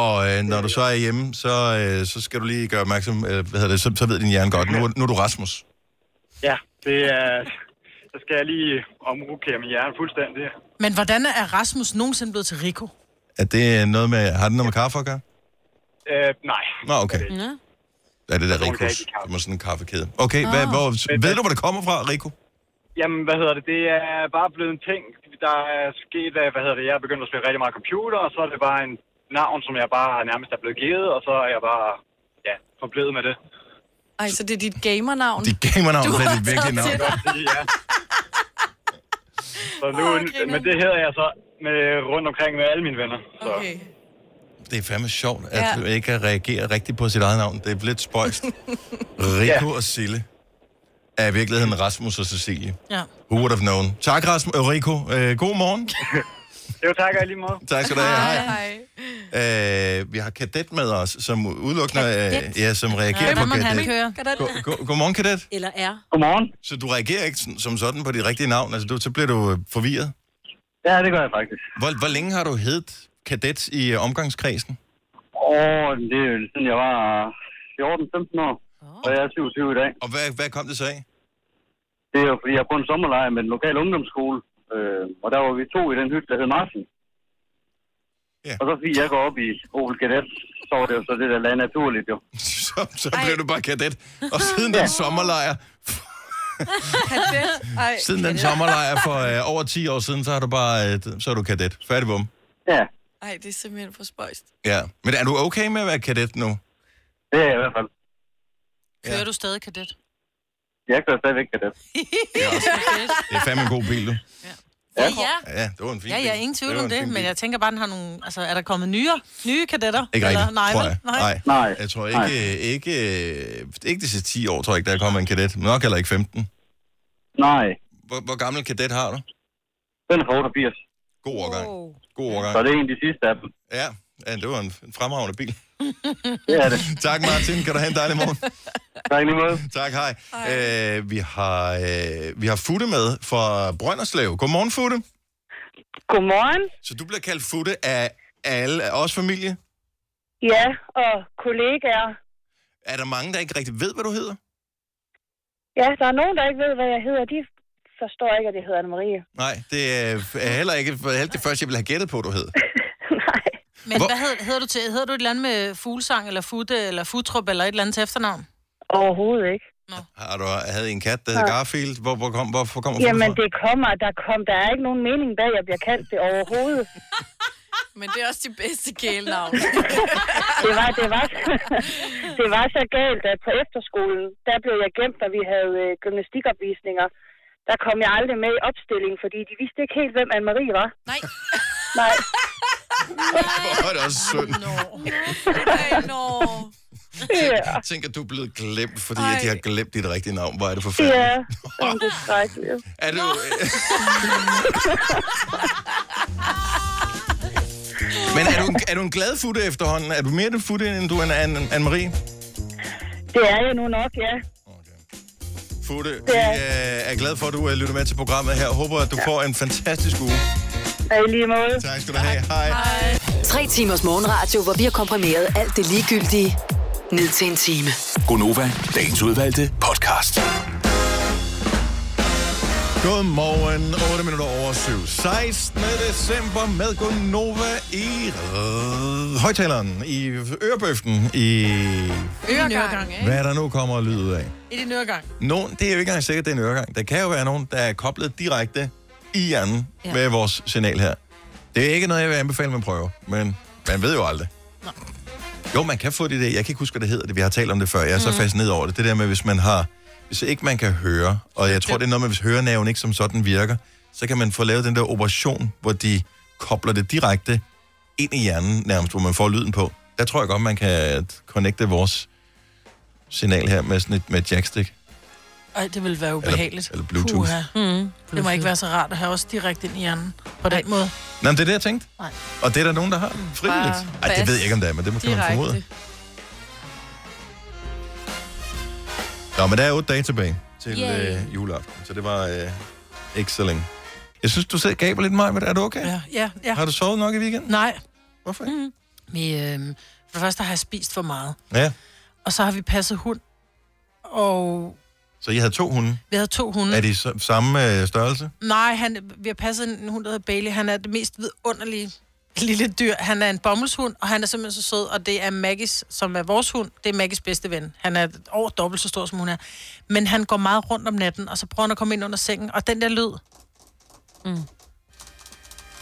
Og øh, når du så er hjemme, så, øh, så skal du lige gøre opmærksom, øh, hvad hedder det, så, så ved din hjerne godt, nu, er- nu er du Rasmus. Ja, det er... Så skal jeg lige omrokere min hjerne fuldstændig. Men hvordan er Rasmus nogensinde blevet til Rico? Er det noget med, har det noget med kaffe at gøre? Øh, nej. Nå, okay. Nå. Er det der tror, det er Ricos? rigtig kaffe. Det må sådan en kaffekæde. Okay, hvad, hvor, ved du, hvor det kommer fra, Rico? Jamen, hvad hedder det? Det er bare blevet en ting. Der er sket, at, hvad hedder det, jeg er begyndt at spille rigtig meget computer, og så er det bare en navn, som jeg bare nærmest er blevet givet, og så er jeg bare, ja, forblevet med det. Ej, så det er dit gamernavn? Dit gamernavn, Du det er har dit virkelige taget navn. til ja. Så nu, Åh, griner. men det hedder jeg så med, rundt omkring med alle mine venner. Så. Okay. Det er fandme sjovt, at ja. Ja. du ikke kan reagere rigtigt på sit eget navn. Det er lidt spøjst. Rico ja. og Sille er i virkeligheden Rasmus og Cecilie. Ja. Who would have known? Tak, Rasmus. Øh, Rico, øh, god morgen. Jo, tak og i lige måde. tak skal du have. Hej. Hej. Øh, vi har Kadet med os, som udelukkende øh, ja, som reagerer Hvordan på må han Kadet. køre? Go- go- Godmorgen, Kadet. Eller er. Godmorgen. Så du reagerer ikke sådan- som sådan på dit rigtige navn? Altså, du, så bliver du øh, forvirret. Ja, det gør jeg faktisk. Hvor, hvor længe har du heddet Kadet i øh, omgangskredsen? Åh, det er jo siden jeg var 14-15 år, og jeg er 27 i dag. Og hvad, hvad kom det så af? Det er jo, fordi jeg er på en sommerlejr med en lokal ungdomsskole, øh, og der var vi to i den hytte, der hed Martin. Ja. Ja. Og så fordi jeg går op i Opel Kadett, så var det jo så det der land naturligt jo. så, så blev du bare kadet. Og siden den sommerlejr, Kadet. Ej. siden den sommerlejr for øh, over 10 år siden, så har du bare øh, så er du kadet. Færdig bum. Ja, Ej, det er simpelthen for spøjst. Ja. Men er du okay med at være kadet nu? det er jeg i hvert fald. Kører du stadig kadet? Jeg kører stadigvæk kadet. Det er fandme en god bil, du. Ja, ja. Ja, det var en fin Ja, bil. ja, ingen tvivl var om en det, fin men bil. jeg tænker bare, den har nogle... Altså, er der kommet nyere, nye kadetter? Ikke rigtigt, nej, tror vel? jeg. Nej. Nej. Nej. Jeg tror ikke, øh, ikke, øh, ikke de sidste 10 år, tror jeg ikke, der er kommet en kadet. Men nok heller ikke 15. Nej, Hvor, hvor gammel kadet har du? den er fra 88, God årgang. Wow. God så årgang. det er en af de sidste af dem. Ja, ja det var en, en fremragende bil. Det er det. Tak Martin, kan du have en dejlig morgen. Tak i lige måde. Tak, hej. hej. Øh, vi, har, øh, vi har Futte med fra Brønderslev. Godmorgen, Futte. Godmorgen. Så du bliver kaldt Futte af alle, af os familie. Ja, og kollegaer. Er der mange, der ikke rigtig ved, hvad du hedder? Ja, der er nogen, der ikke ved, hvad jeg hedder. De forstår ikke, at jeg hedder Anne-Marie. Nej, det er er heller ikke for heller det første, jeg ville have gættet på, du hed. Nej. Men Hvor- hvad hedder, hedder du til? Hedder du et eller andet med fuglesang, eller futte, eller futrup, eller et eller andet til efternavn? Overhovedet ikke. Har du havde I en kat, der hed Garfield? Hvor, hvor kom, hvorfor kommer Futte Jamen, fra? det kommer. Der, kom, der er ikke nogen mening bag, at jeg bliver kaldt det overhovedet. Men det er også de bedste kælenavn. Det var, det var, det var så galt, at på efterskolen, der blev jeg gemt, da vi havde øh, gymnastikopvisninger. Der kom jeg aldrig med i opstillingen, fordi de vidste ikke helt, hvem Anne-Marie var. Nej. Nej. Hvor er det også synd. Ej, no. Ja, Tænk, at du er blevet glemt, fordi Ej. at de har glemt dit rigtige navn. Hvor er det forfærdeligt. ja. Jamen, det er skrækkeligt. Er du... Men er du, en, er du en glad futte efterhånden? Er du mere den futte, end du er en Anne-Marie? Det er jeg nu nok, ja. Futte, vi øh, er glade for, at du øh, lytter med til programmet her. Håber, at du får en fantastisk uge. Og i lige måde. Tak skal du have. Hej. Hej. Tre timers morgenradio, hvor vi har komprimeret alt det ligegyldige ned til en time. Gonova, dagens udvalgte podcast. Godmorgen, 8 minutter over 7. 16. december med Gunova i øh, højtaleren, i ørebøften, i... Øregang, ikke? Hvad der nu kommer lyd ud af. I din øregang. Nogen, det er jo ikke engang sikkert, det er en øregang. Der kan jo være nogen, der er koblet direkte i hjernen Ja. ja. med vores signal her. Det er ikke noget, jeg vil anbefale, man prøver, men man ved jo aldrig. Jo, man kan få det der. Jeg kan ikke huske, hvad det hedder det. Vi har talt om det før. Jeg er så Mhm. fascineret over det. Det der med, hvis man har... Hvis ikke man kan høre, og jeg tror, det er noget med, hvis hørenaven ikke som sådan virker, så kan man få lavet den der operation, hvor de kobler det direkte ind i hjernen nærmest, hvor man får lyden på. Der tror jeg godt, man kan connecte vores signal her med sådan et med et jackstick. Ej, det ville være ubehageligt. eller Bluetooth. Mm. Det må ikke være så rart at have os direkte ind i hjernen på den måde. Nå, men det er det, jeg tænkte. Nej. Og det er der nogen, der har frivilligt. Bare Ej, det fast. ved jeg ikke, om det er, men det må kan man formode. Nå, men der er otte dage tilbage til Yay. øh, juleaften, så det var øh, ikke så længe. Jeg synes, du sidder og gaber lidt meget, men er du okay? Ja, ja, ja. Har du sovet nok i weekenden? Nej. Hvorfor ikke? Mm. Vi, øh, for det første har jeg spist for meget. Ja, Og så har vi passet hund. Og så I havde to hunde. vi havde to hunde. Er de så, samme øh, størrelse? Nej, han, vi har passet en hund, der hedder Bailey. Han er det mest vidunderlige lille dyr. Han er en bommelshund, og han er simpelthen så sød. Og det er Maggis, som er vores hund. Det er Maggis bedste ven. Han er over dobbelt så stor, som hun er. Men han går meget rundt om natten, og så prøver han at komme ind under sengen. Og den der lyd... Mm.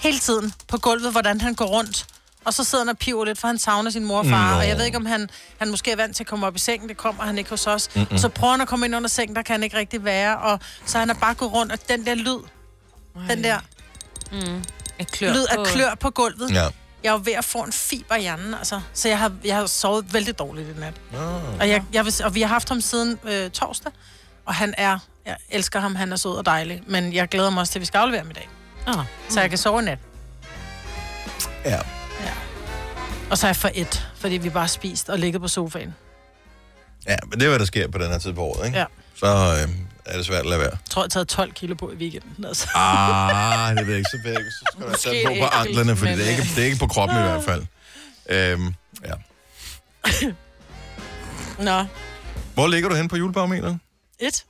Hele tiden på gulvet, hvordan han går rundt. Og så sidder han og piver lidt, for han savner sin mor og far. Nå. Og jeg ved ikke, om han, han måske er vant til at komme op i sengen. Det kommer han ikke hos os. Mm-mm. Mm-mm. Så prøver han at komme ind under sengen, der kan han ikke rigtig være. Og så han er bare gået rundt, og den der lyd, den der Mm. Et klør klør lyd af på- klør på gulvet. Ja. Jeg er jo ved at få en fiber i hjernen, altså. Så jeg har, jeg har sovet vældig dårligt i nat. Oh. Og, jeg, jeg vil, s- og vi har haft ham siden øh, torsdag, og han er, jeg elsker ham, han er sød og dejlig, men jeg glæder mig også til, at vi skal aflevere ham i dag. Ah. Så jeg kan sove i nat. Ja. Og så er jeg for et, fordi vi bare har spist og ligget på sofaen. Ja, men det er, hvad der sker på den her tid på året, ikke? Ja. Så øh, er det svært at lade være. Jeg tror, jeg har taget 12 kilo på i weekenden. Altså. Ah, det ved jeg ikke. Så, ved jeg, ikke. så skal du Måske sætte på på ikke, anklerne, fordi men, det er, ikke, øh. det er ikke på kroppen i hvert fald. Øhm, ja. Nå, Hvor ligger du hen på julebarometeret? et.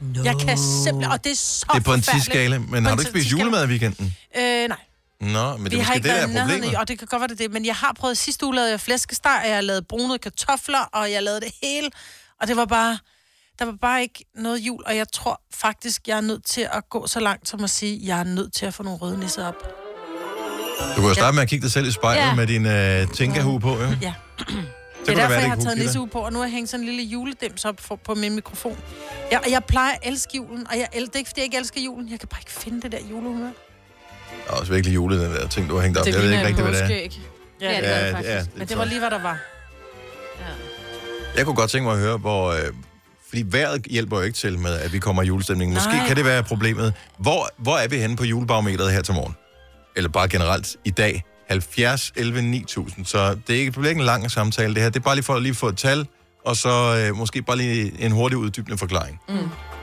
No. Jeg kan simpelthen, og det er så det er på en forfærdeligt. 10-skala, men På har en du ikke spist 10-skala? julemad i weekenden? Øh, nej. Nå, men det vi er har måske det, ikke der er været i nærheden problemet. i- og det kan godt være det, er det, men jeg har prøvet sidste uge, lavede jeg flæskesteg, og jeg lavede brune kartofler, og jeg lavede det hele, og det var bare, der var bare ikke noget jul, og jeg tror faktisk, jeg er nødt til at gå så langt som at sige, jeg er nødt til at få nogle røde nisser op. Du kunne jo starte med at kigge dig selv i spejlet Ja. ja. med din øh, tænkerhue på, jo. Ja. Så Det er kunne det derfor, være, jeg det har kunne taget give dig. nisseuge på, og nu har jeg hængt sådan en lille juledems op for, på min mikrofon. Jeg, og jeg plejer at elske julen, og jeg, el- det er ikke, fordi jeg ikke elsker julen. Jeg kan bare ikke finde det der julehumør. Det er også virkelig julet, den der ting, du har hængt op. jeg ved ikke rigtig, hvad det er. Ja, det Ja, var det ja, faktisk. det er Men det klart. var lige, hvad der var. Jeg kunne godt tænke mig at høre, hvor... Øh, fordi vejret hjælper jo ikke til med, at vi kommer i julestemningen. Måske Nej. Nej. kan det være problemet. Hvor, hvor er vi henne på julebarometeret her til morgen? Eller bare generelt i dag. 70, 11, 9000. Så det, er ikke, det bliver ikke en lang samtale, det her. Det er bare lige for at lige få et tal, og så øh, måske bare lige en hurtig uddybende forklaring. Mm.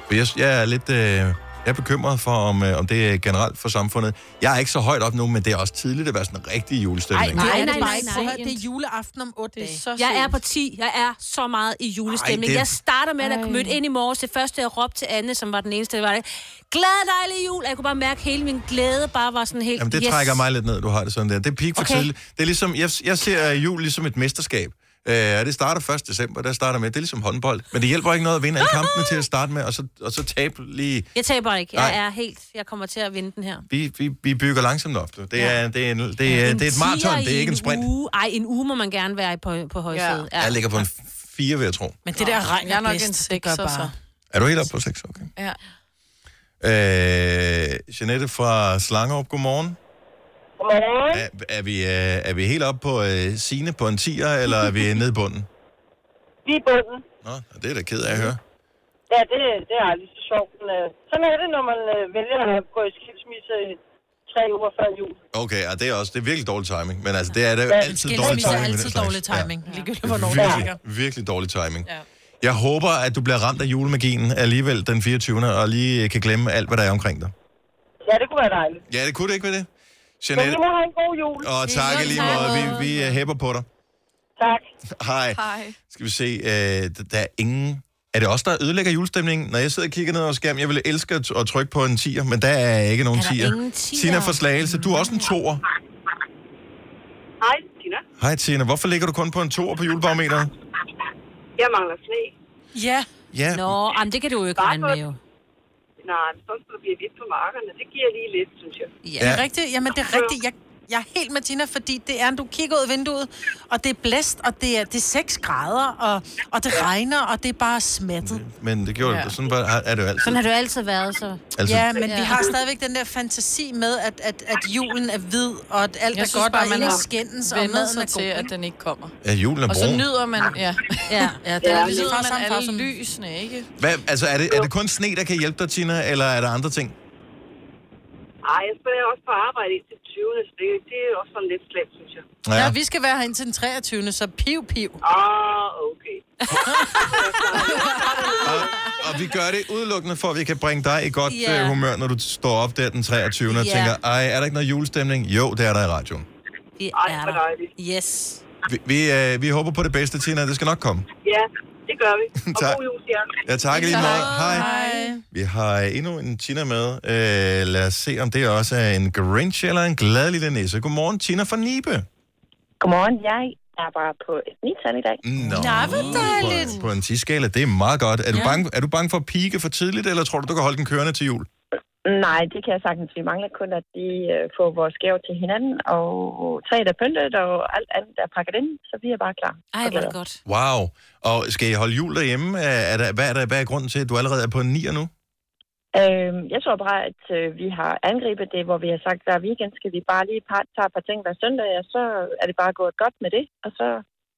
For jeg, jeg er lidt... Øh, jeg er bekymret for, om, øh, om det er generelt for samfundet. Jeg er ikke så højt op nu, men det er også tidligt at være sådan en rigtig julestemning. Nej, nej, Nej, nej, nej, nej, nej, nej. nej. Det er juleaften om 8 dage. Så Jeg er på 10. Jeg er så meget i julestemning. Ej, Ej, det- Jeg starter med, at jeg mødte ind i morges. Det første, jeg råbte til Anne, som var den eneste, det var det. Glad dejlig jul! Og Jeg kunne bare mærke, at hele min glæde bare var sådan helt... Jamen, det yes. trækker mig lidt ned, du har det sådan der. Det er peak for Okay. okay. tidligt. Det er ligesom, jeg, jeg ser øh, jul ligesom et mesterskab. Øh, og det starter 1. december, der starter med, det er ligesom håndbold. Men det hjælper ikke noget at vinde alle kampene til at starte med, og så, og så tabe lige... Jeg taber ikke. Jeg Nej. er helt... Jeg kommer til at vinde den her. Vi, vi, vi bygger langsomt op. du. Det er, ja. det er, en, det er, En det er et maraton, tier det i er ikke en sprint. Uge. Ej, en uge må man gerne være i på, på højsædet. Ja. Jeg ligger på en 4, vil jeg tro. Men det der regn Jeg er nok bedst. en Det gør sekser, så. Er du helt oppe på 6? Okay. Ja. Øh, Jeanette fra Slangerup, godmorgen. Godmorgen. Er, er, vi, øh, er vi helt oppe på øh, Sine på en 10'er, eller er vi nede i bunden? Vi er bunden. Nå, det er da ked af at høre. Ja, det, det er aldrig så sjovt. Men, øh, sådan er det, når man øh, vælger at gå i skilsmisse øh, tre uger før jul. Okay, og det er også det er virkelig dårlig timing, men altså det er det jo Ja, altid dårlig timing. Skilsmisse er med den altid slags. dårlig timing. Ligegyldigt, Ja. hvornår det ligger. Virkelig, virkelig dårlig timing. Ja. Jeg håber, at du bliver ramt af julemagien alligevel den 24. og lige øh, kan glemme alt, hvad der er omkring dig. Ja, det kunne være dejligt. Ja, det kunne det ikke være det. Men Jeanette, I må have en god jul. og tak i lige måde. Vi, vi øh, hæpper på dig. Tak. Hej. Hej. Skal vi se, øh, d- der er ingen... Er det også der ødelægger julestemningen? Når jeg sidder og kigger ned over skærmen, jeg ville elske at, at trykke på en 10'er, men der er ikke nogen Er der 10'er. ingen tier? Tina fra Slagelse, du er også en 2'er. Hej, Tina. Hej Tina, hvorfor ligger du kun på en 2'er på julebarometeret? Jeg mangler sne. Ja. Ja, Nå, jamen, det kan du jo ikke Bare regne med jo. Nej, så bliver vi på markerne. Det giver lige lidt, synes jeg. Ja. Ja. Det er rigtigt. Jamen, det er rigtigt. Jeg, jeg er helt med Tina, fordi det er, du kigger ud af vinduet, og det er blæst, og det er, det er 6 grader, og, og det regner, og det er bare smattet. men det gjorde ja. Sådan var, er det jo altid. Sådan har det jo altid været, så. Altså, Ja, men ja. Ja. vi har stadigvæk den der fantasi med, at, at, at julen er hvid, og at alt Jeg er synes godt, bare, og man ingen har skændes, og Vender maden er sig god. til, at Ikke? den ikke kommer. ja, julen er Og så brun. nyder man, ja, Ja. Ja, det er så lidt nyder far man sammen, far alle sammen. lysene, ikke? Hvad, altså, er det, er det kun sne, der kan hjælpe dig, Tina, eller er der andre ting? Ej, jeg skal også på arbejde indtil 20. Så det, det er også sådan lidt slemt, synes jeg. Ja, vi skal være her indtil den 23. Så piv, piv. Ah, okay. Og, og vi gør det udelukkende for, at vi kan bringe dig i godt Ja. yeah. humør, når du står op der den 23. og Ja. tænker, ej, er der ikke noget julestemning? Jo, det er der i radioen. Vi Ej, er hvor der. dejligt. Yes. Vi, vi, øh, vi håber på det bedste, Tina. Det skal nok komme. Ja, det gør vi. Og Tak. god jul til jer. Ja, tak i lige måde. Hej. Hej. Vi har endnu en Tina med. Øh, lad os se, om det også er en Grinch eller en glad lille nisse. Godmorgen, Tina fra Nibe. Godmorgen, jeg er bare på et nital i dag. Nå, hvor dejligt. På, på en 10-skala, det er meget godt. Er, ja. du bange, er du bange for at pike for tidligt, eller tror du, du kan holde den kørende til jul? Nej, det kan jeg sagtens. Vi mangler kun, at de øh, får vores gaver til hinanden, og træet er pyntet, og alt andet er pakket ind, så vi er bare klar. Ej, hvor er det godt. Wow. Og skal I holde jul derhjemme? Er er der, hvad, er der, hvad er grunden til, at du allerede er på en 9'er nu? Øh, jeg tror bare, at øh, vi har angrebet det, hvor vi har sagt, hver weekend skal vi bare lige par, tage et par ting hver søndag, og så er det bare gået godt med det. Og så,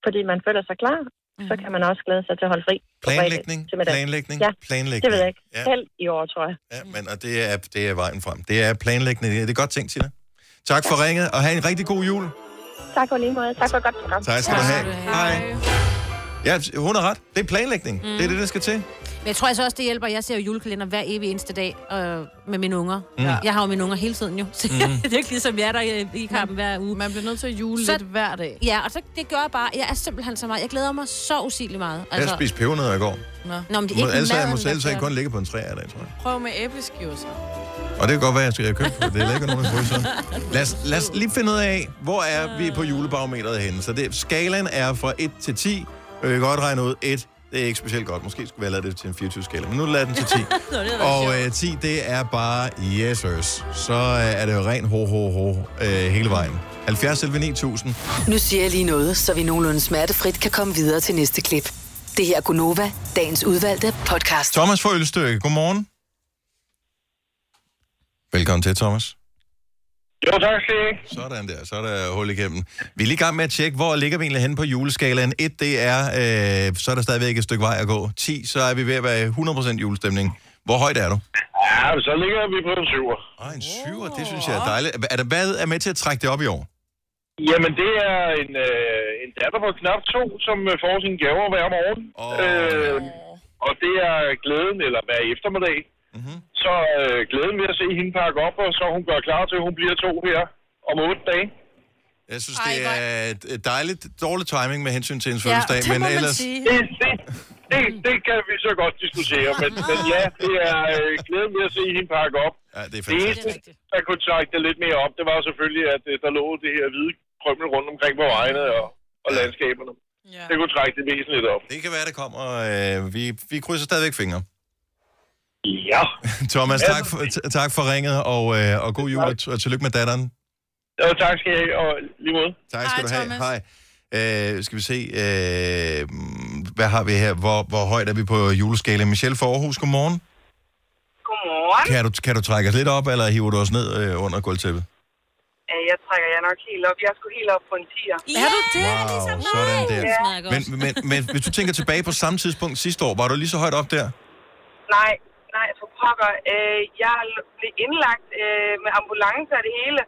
fordi man føler sig klar, mm. så kan man også glæde sig til at holde fri. på fredag Planlægning, til middag. planlægning, Ja, planlægning. Det ved jeg ikke. Ja, Selv i år, tror jeg. ja men, og det er, det er vejen frem. Det er planlægning. Det er godt tænkt, Tina. Tak for ringet, og have en rigtig god jul. Tak for lige måde. Tak for et godt program. Tak skal du have. Hej. Ja, hun har ret. Det er planlægning. Mm. Det er det, der skal til. Men jeg tror altså også, det hjælper. Jeg ser jo julekalender hver evig eneste dag øh, med mine unger. Jeg har jo mine unger hele tiden jo. Så det er ikke ligesom jer, der i, i kampen hver uge. Man bliver nødt til at jule Så- lidt hver dag. Ja, og så, det gør jeg bare, jeg er simpelthen så meget. Jeg glæder mig så usigeligt meget. Jeg spiste pebernødder i går. nå, men Altså- det er Må, ikke ellers jeg maden, må der selv gør sige det. kun ligge på en træ i dag, tror jeg. Prøv med æbleskiver så. Og det kan godt være, at jeg skal købe det. Det er ikke nogen, der fryser. Lad os, lad os lige finde ud af, hvor er vi på julebarometeret henne. Så det, skalaen er fra 1 til 10. Vi kan godt regne ud, 1 det er ikke specielt godt. Måske skulle vi have lavet det til en 24-skala, men nu lader den til 10. og øh, 10, det er bare yes, sirs. Så øh, er det jo ren ho, ho, ho øh, hele vejen. 70 selv 9000. Nu siger jeg lige noget, så vi nogenlunde smertefrit kan komme videre til næste klip. Det her er Gunova, dagens udvalgte podcast. Thomas fra Ølstykke, godmorgen. Velkommen til, Thomas. Jo, tak skal I. Sådan der, så er der hul igennem. Vi er lige i gang med at tjekke, hvor ligger vi egentlig henne på juleskalaen. 1, det er, øh, så er der stadigvæk et stykke vej at gå. 10, så er vi ved at være i 100% julestemning. Hvor højt er du? Ja, men så ligger vi på en syver. Ej, en 7, det synes jeg er dejligt. Er der, hvad er med til at trække det op i år? Jamen, det er en, øh, en datter på knap to, som øh, får sine gaver hver morgen. Åh. Øh, og det er øh, glæden, eller hver eftermiddag. Mm-hmm. Så øh, glæden ved at se hende pakke op, og så hun gør klar til, at hun bliver to her om otte dage. Jeg synes, det er et dejligt, dårlig timing med hensyn til ens Ja, fødselsdag, det må men man ellers... sige. Det, det, det, det kan vi så godt diskutere, men, men ja, det er øh, glæden ved at se hende pakke op. Ja, det er Det eneste, fantastisk. der kunne trække det lidt mere op, det var selvfølgelig, at øh, der lå det her hvide krømmel rundt omkring på vejene og, og landskaberne. Ja. Det kunne trække det væsentligt op. Det kan være, det kommer. Øh, vi, vi krydser stadigvæk fingre. Ja. Thomas, tak for, t- tak for ringet, og, øh, og god jul, og, t- og tillykke med datteren. Jo, tak skal I have, og lige måde. Tak skal Hej, du have. Thomas. Hej. Øh, skal vi se, øh, hvad har vi her? Hvor, hvor højt er vi på juleskala? Michelle fra Aarhus, godmorgen. Godmorgen. Kan du, kan du trække os lidt op, eller hiver du os ned øh, under gulvtæppet? Øh, Jeg trækker jer nok helt op. Jeg skulle helt op på en 10'er. Ja, er du det? Wow, sådan der. smager godt. Men, men, men hvis du tænker tilbage på samme tidspunkt sidste år, var du lige så højt op der? Nej, nej, for pokker. Øh, jeg l- blev indlagt øh, med ambulance og det hele.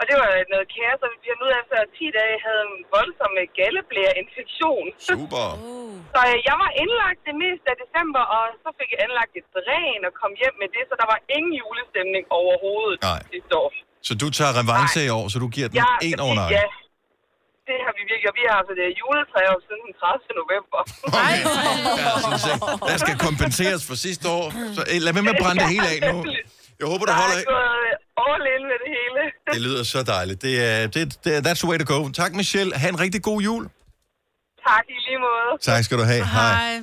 Og det var noget kære, så vi fandt ud af, at efter 10 dage havde en voldsom øh, galleblære-infektion. Super. Uh. Så øh, jeg var indlagt det meste af december, og så fik jeg anlagt et dræn og kom hjem med det, så der var ingen julestemning overhovedet Nej. sidste år. Så du tager revanche i år, så du giver den Ja, en over Ja, nakken. det har vi virkelig, og vi har haft et øh, juletræ op siden den 30. november. Nej, Der skal kompenseres for sidste år. Så eh, lad være med at brænde det hele af nu. Jeg håber, du holder... Jeg har gået all in med det hele. Det lyder så dejligt. Det er, det, det, er- that's the way to go. Tak, Michelle. Ha' en rigtig god jul. Tak i lige måde. Tak skal du have. Hej. Hej.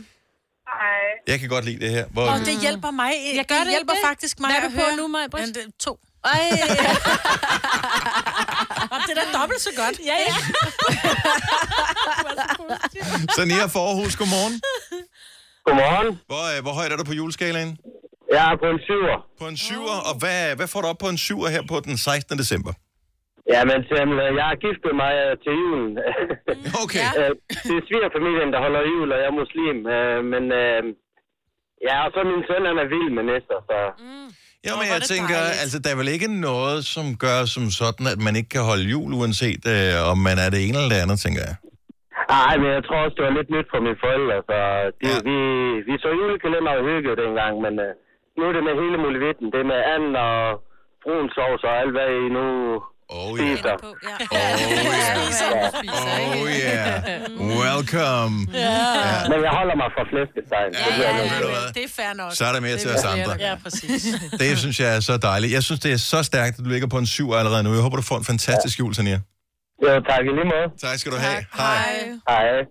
Jeg kan godt lide det her. Hvor... Og det hjælper mig. Jeg gør det, det hjælper det? faktisk mig Hvad er at du på høre. nu, Maja Men det- To. Ej. Og det er da dobbelt så godt. Ja, ja. Sania Forhus, godmorgen. Godmorgen. Hvor, øh, hvor højt er du på juleskalaen? Jeg er på en syver. På en syver, og hvad, hvad får du op på en syver her på den 16. december? Ja, men Samuel, jeg er gift med mig øh, til julen. Okay. det er svigerfamilien, der holder jul, og jeg er muslim. øh, Men øh, ja, og så min søn, han er vild med næster, så... Ja, men jeg tænker, altså, der er vel ikke noget, som gør som sådan, at man ikke kan holde jul, uanset øh, om man er det ene eller det andet, tænker jeg. Ej, men jeg tror også, det var lidt nyt for mine forældre, så de, ja. vi, vi så julekalender og hygge dengang, men øh, nu er det med hele muligheden. Det er med and og brun sovs og alt, hvad I nu oh, spiser. Ja. Oh yeah, welcome. Ja. Men jeg holder mig fra flæskesteg. Ja, ja, Det er fair nok. Så er der mere til Det os fair andre. nok. Ja, præcis. Det synes jeg er så dejligt. Jeg synes, det er så stærkt, at du ligger på en syv allerede nu. Jeg håber, du får en fantastisk jul, Tania. Jo, tak i lige måde. Tak skal du have. Hej. Hej.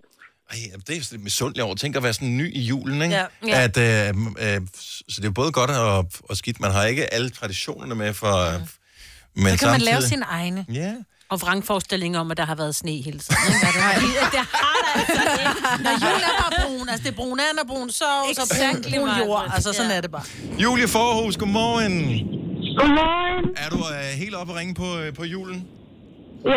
Ej, jamen, det er sådan lidt misundeligt over. Tænk at være sådan ny i julen, ikke? Ja. Ja. Ja. At, øh, øh, så det er jo både godt og, og skidt. Man har ikke alle traditionerne med for... Ja. Men Men samtidig... så kan samtidig... man lave sine egne. Ja. Og vrangforestillinger om, at der har været sne hele tiden. Ikke? Hvad der har- det har der altså ikke. Når jul er bare brun, altså det er brun and og brun sovs og brun, Exactly, brun jord, Maja. altså sådan Ja. er det bare. Julie Forhus, godmorgen. Godmorgen. Er du øh, helt oppe at ringe på, øh, på julen? Ja,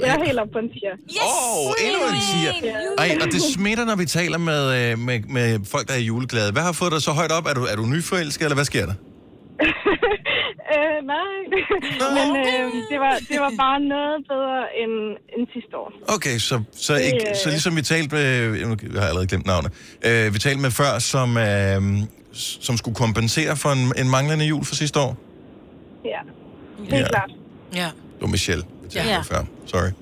jeg er helt oppe på en tier. Yes! Åh, oh, endnu en siger. Ej, og det smitter, når vi taler med, øh, med, med folk, der er juleglade. Hvad har fået dig så højt op? Er du, er du nyforelsket, eller hvad sker der? øh, nej, men øh, det, var, det var bare noget bedre end, end sidste år. Okay, så, så, ikke, Det, øh, så ligesom vi talte med, nu har jeg allerede glemt navnet, øh, vi talte med før, som, øh, som skulle kompensere for en, en manglende jul for sidste år. Ja, helt Ja. klart. Ja. Det var Michelle, vi talte Ja. ja. med før. Sorry.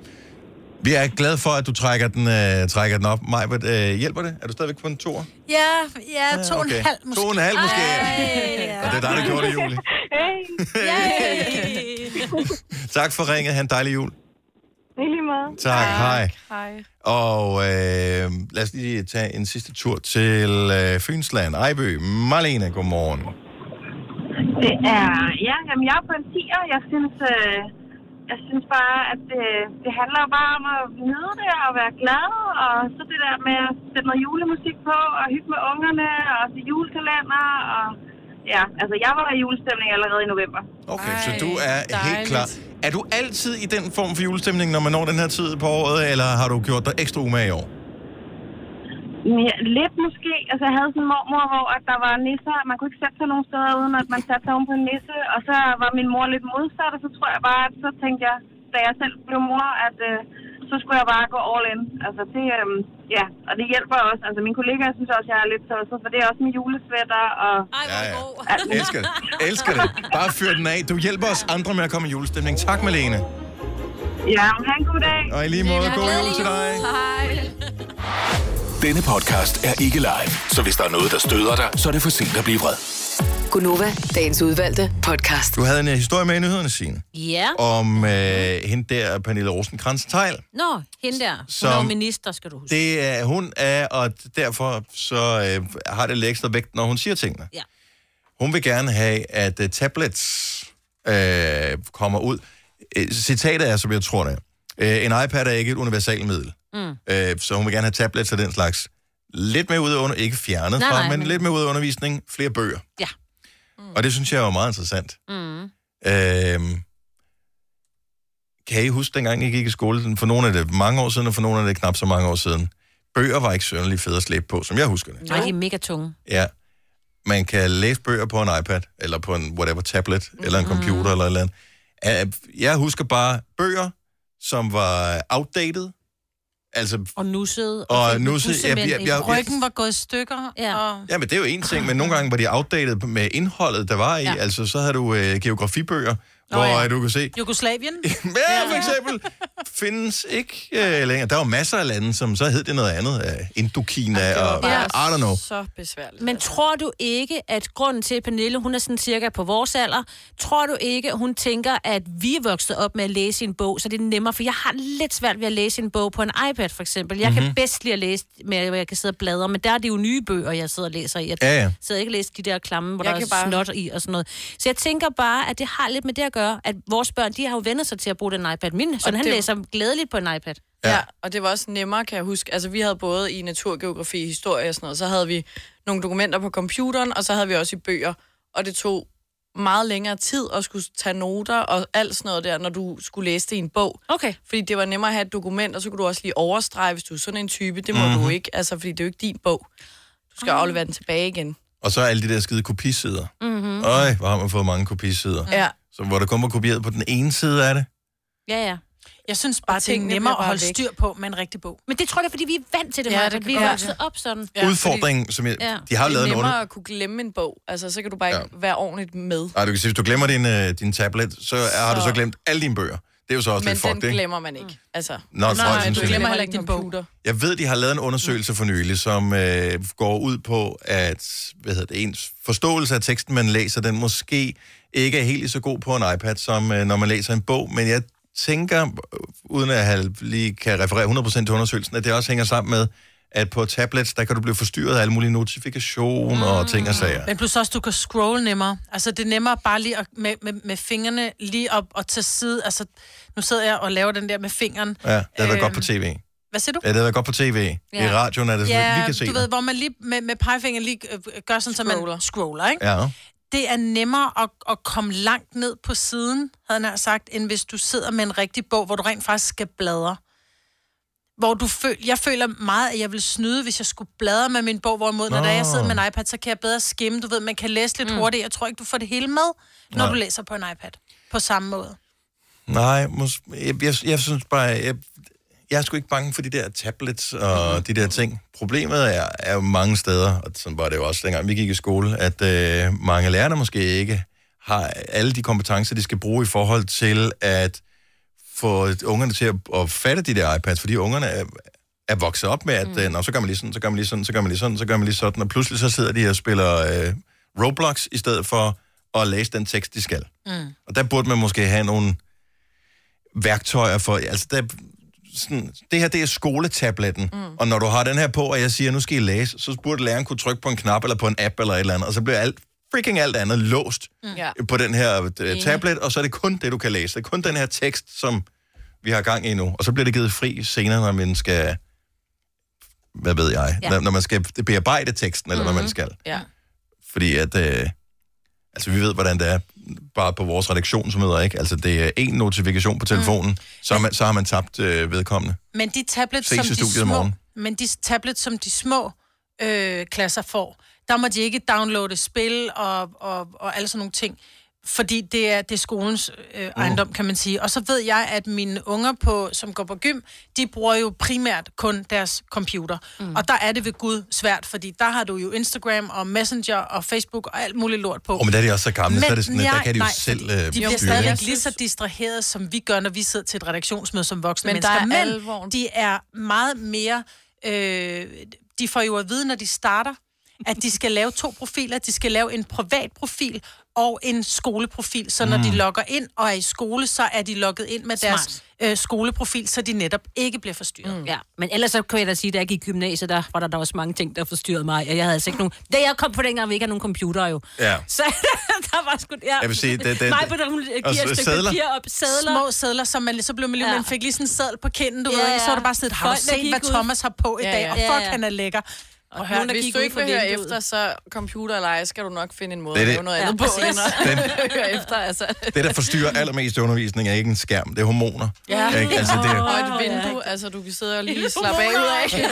Vi er glade for, at du trækker den, øh, trækker den op. Maj, øh, hjælper det? Er du stadigvæk på en toer? Ja, ja, to og en halv måske. Ah, To og en halv måske. Ej, Og det er dig, der gjorde det, Julie. Hey, Tak for ringet. Ha' en dejlig jul. i lige måde. Tak, hej. Hej. Og øh, lad os lige tage en sidste tur til øh, Fynsland. Ejby, Marlene, godmorgen. Det er, ja, jamen jeg er på en tier. Jeg synes, øh, jeg synes bare, at det, det handler jo bare om at nyde det og være glad. Og så det der med at sætte noget julemusik på og hygge med ungerne og se julekalender. Og, ja, altså jeg var i julestemning allerede i november. Okay, Ej, så du er dejligt. helt klar. Er du altid i den form for julestemning, når man når den her tid på året, eller har du gjort dig ekstra umage i år? Men ja, Lidt måske. Altså, jeg havde sådan en mormor, hvor at der var nisser. Man kunne ikke sætte sig nogen steder, uden at man satte sig oven på en nisse. Og så var min mor lidt modsat, og så tror jeg bare, at så tænkte jeg, da jeg selv blev mor, at øh, så skulle jeg bare gå all in. Altså, det, øh, ja, og det hjælper også. Altså, mine kollegaer synes også, jeg er lidt tosset, for det er også med julesvætter og... Ej, Ja, ja. Elsker det. Elsker det. Bare fyr den af. Du hjælper os andre med at komme i julestemning. Tak, Marlene. Ja, men ha' en god dag. Og i lige måde, god jul til dig. Hej. Denne podcast er ikke live, så hvis der er noget, der støder dig, så er det for sent at blive vred. Gunova, dagens udvalgte podcast. Du havde en øh, historie med i nyhederne, Signe, Ja. om øh, hende der, Pernille rosenkrantz teil Nå, hende der. Hun Som- er jo minister, skal du huske. Det er hun er, og derfor så øh, har det lidt ekstra vægt, når hun siger tingene. Ja. Hun vil gerne have, at uh, tablets øh, kommer ud. Øh, Citatet er, som jeg tror det er. Øh, en iPad er ikke et universalmiddel. Mm. Øh, så hun vil gerne have tablets og den slags. Lidt mere ud af under, ikke fjernet Nej, fra, nej, men, men- lidt mere ud af undervisning, flere bøger. Ja. Mm. Og det synes jeg er meget interessant. Mm. Øhm, kan I huske, dengang I gik i skole? For nogle af det mange år siden, og for nogle af det knap så mange år siden. Bøger var ikke sønderlig fede at slæbe på, som jeg husker det. Nej, de er mega tunge. Ja. Man kan læse bøger på en iPad, eller på en whatever tablet, eller en computer, eller et eller andet. Øh, Jeg husker bare bøger, som var outdated. Altså, Og Altså, nussede. og nu jeg, jeg, jeg, jeg, Ryggen var gået i stykker. Ja. Og... Ja, men det er jo en ting, men nogle gange var de outdated med indholdet, der var i. Ja. Ja. Altså, så havde du øh, geografibøger, Nå, Nå hvor ja. ja. du kan se, Jugoslavien? ja, for eksempel. findes ikke øh, længere. Der var masser af lande, som så hed det noget andet. Øh, Indokina og bare I don't know. så besværligt. Men tror du ikke, at grunden til, at Pernille, hun er sådan cirka på vores alder, tror du ikke, at hun tænker, at vi er vokset op med at læse en bog, så det er nemmere, for jeg har lidt svært ved at læse en bog på en iPad, for eksempel. Jeg mm-hmm. Mhm. kan bedst lide at læse, med, at jeg kan sidde og bladre, men der er det jo nye bøger, jeg sidder og læser i. Jeg Ja, ja. sidder ikke og læser de der klamme, hvor Jeg jeg der er kan bare- snot i og sådan noget. Så jeg tænker bare, at det har lidt med det at gøre, at vores børn, de har jo vendt sig til at bruge den iPad. Min søn, han det- læser glædeligt på en iPad. Ja. ja, og det var også nemmere, kan jeg huske. Altså, vi havde både i naturgeografi, historie og sådan noget, så havde vi nogle dokumenter på computeren, og så havde vi også i bøger. Og det tog meget længere tid at skulle tage noter og alt sådan noget der, når du skulle læse det i en bog. Okay. Fordi det var nemmere at have et dokument, og så kunne du også lige overstrege, hvis du er sådan en type. Det må mm-hmm. du Mhm. ikke, altså, fordi det er jo ikke din bog. Du skal aflevere den tilbage igen. Og så alle de der skide kopisider. Mm-hmm. Øj, hvor har man fået mange kopisider. Ja. Så, hvor der kun var kopieret på den ene side af det. Ja, ja. Jeg synes bare, det er tingene nemmere bliver at holde bare væk. styr på med en rigtig bog. Men det tror jeg, fordi vi er vant til det, Ja, ja, det kan det Vi godt er være. vokset op sådan. Ja, Udfordringen, fordi- som jeg- de har jo lavet en Det er nemmere under- at kunne glemme en bog. Altså, så kan du bare ikke være ordentligt med. Nej, du kan sige, hvis du glemmer din, øh, din tablet, så, så har du Så- så glemt alle dine bøger. Det er jo så også Men lidt fucked, den ikke? glemmer man ikke. Altså, Nå, for nej, eksempel. du glemmer heller ikke din computer. Jeg ved, de har lavet en undersøgelse for nylig, som øh, går ud på, at hvad hedder det, ens forståelse af teksten, man læser, den måske ikke er helt lige så god på en iPad, som øh, når man læser en bog. Men jeg tænker, øh, uden at jeg lige kan referere 100% til undersøgelsen, at det også hænger sammen med, at på tablets, der kan du blive forstyrret af alle mulige notifikationer mm. Ah. og ting og sager. Men plus også, du kan scrolle nemmere. Altså, det er nemmere bare lige at, med, med, med fingrene lige op og til side. Altså, nu sidder jeg og laver den der med fingeren. Ja, det har været Øhm, godt på tv. Hvad siger du? Ja, det har været godt på tv. Ja. I radioen er det sådan, ja, ja, vi kan se du det. ved, hvor man lige med, med pegefingeren lige øh, gør sådan, så man scroller, ikke? Ja. Det er nemmere at, at komme langt ned på siden, havde han sagt, end hvis du sidder med en rigtig bog, hvor du rent faktisk skal bladre. Hvor du føl, jeg føler meget, at jeg vil snyde, hvis jeg skulle bladre med min bog, hvorimod, når Nå. der jeg sidder med en iPad, så kan jeg bedre skimme. Du ved, man kan læse lidt mm. hurtigt. Jeg tror ikke, du får det hele med, når Nej. du læser på en iPad. På samme måde. Nej, mås- jeg, jeg, jeg synes bare, jeg, jeg er sgu ikke bange for de der tablets og mm-hmm. de der ting. Problemet er, er jo mange steder, og sådan var det jo også dengang vi gik i skole, at øh, mange lærerne måske ikke har alle de kompetencer, de skal bruge i forhold til at få ungerne til at, at fatte de der iPads, fordi ungerne er, er vokset op med, at mm. Nå, så gør man lige sådan, så gør man lige sådan, så gør man lige sådan, så gør man lige sådan, og pludselig så sidder de og spiller øh, Roblox i stedet for at læse den tekst, de skal. Mm. Og der burde man måske have nogle værktøjer for... Altså, der, sådan, det her, det er skoletabletten. Mm. Og når du har den her på, og jeg siger, nu skal I læse, så burde læreren kunne trykke på en knap eller på en app eller et eller andet, og så bliver alt, freaking alt andet låst Mm. Ja. på den her øh, Enig. tablet, og så er det kun det, du kan læse. Det er kun den her tekst, som vi har gang i nu. Og så bliver det givet fri senere, når man skal... Hvad ved jeg? Ja. Ja. Når, når man skal bearbejde teksten, eller mm-hmm. hvad man skal. Ja. Fordi at... Øh, altså, vi ved, hvordan det er bare på vores redaktionsmøder, ikke? Altså, det er én notifikation på telefonen, mm. så, har man, så har man tabt øh, vedkommende. Men de tablets, Ses i som de studiet i små, morgen. men de tablets, som de små øh, klasser får, der må de ikke downloade spil og, og, og alle sådan nogle ting, fordi det er, det er skolens øh, Mm. ejendom, kan man sige. Og så ved jeg, at mine unger, på, som går på gym, de bruger jo primært kun deres computer. Mm. Og der er det ved Gud svært, fordi der har du jo Instagram og Messenger og Facebook og alt muligt lort på. Åh, men der er de også så gamle, så er det sådan, at der nej, kan de jo nej, selv, øh, De styre bliver det. stadigvæk lige så distraheret, som vi gør, når vi sidder til et redaktionsmøde som voksne Men der mennesker. er men alvoren. de er meget mere... Øh, de får jo at vide, når de starter, at de skal lave to profiler. De skal lave en privat profil og en skoleprofil. Så når Mm. de logger ind og er i skole, så er de logget ind med Smart. deres øh, skoleprofil, så de netop ikke bliver forstyrret. Mm. Ja, men ellers så kan jeg da sige, at da jeg gik i gymnasiet, der var der, der også mange ting, der forstyrrede mig. Og jeg havde altså ikke nogen... Da jeg kom på dengang, vi ikke havde nogen computer jo. Ja. Så der var sgu... Ja. Jeg vil sige, det- det- Mig på den, hun øh, giver Og et så stykke sedler. papir op. Sædler. Små sædler, som man, så blev man lige, Ja. man fik lige sådan en sædel på kinden, du Ja, ved, ikke? så var ja. det bare sådan, har du Folk, der set, gik hvad ud- Thomas har på i Ja, dag, ja. og Ja, fuck, ja. han er lækker. Og Hør, der hvis gik du ud ikke fra vil høre vinduet. efter, så computer eller ej, skal du nok finde en måde Det er at det. lave noget Ja, andet på, præcis. end at høre efter. Altså. Det, der forstyrrer allermest i undervisningen, er ikke en skærm, det er hormoner. Ja, Ikke? Altså, det og er... et vindue, altså du kan sidde og lige slappe af ud af.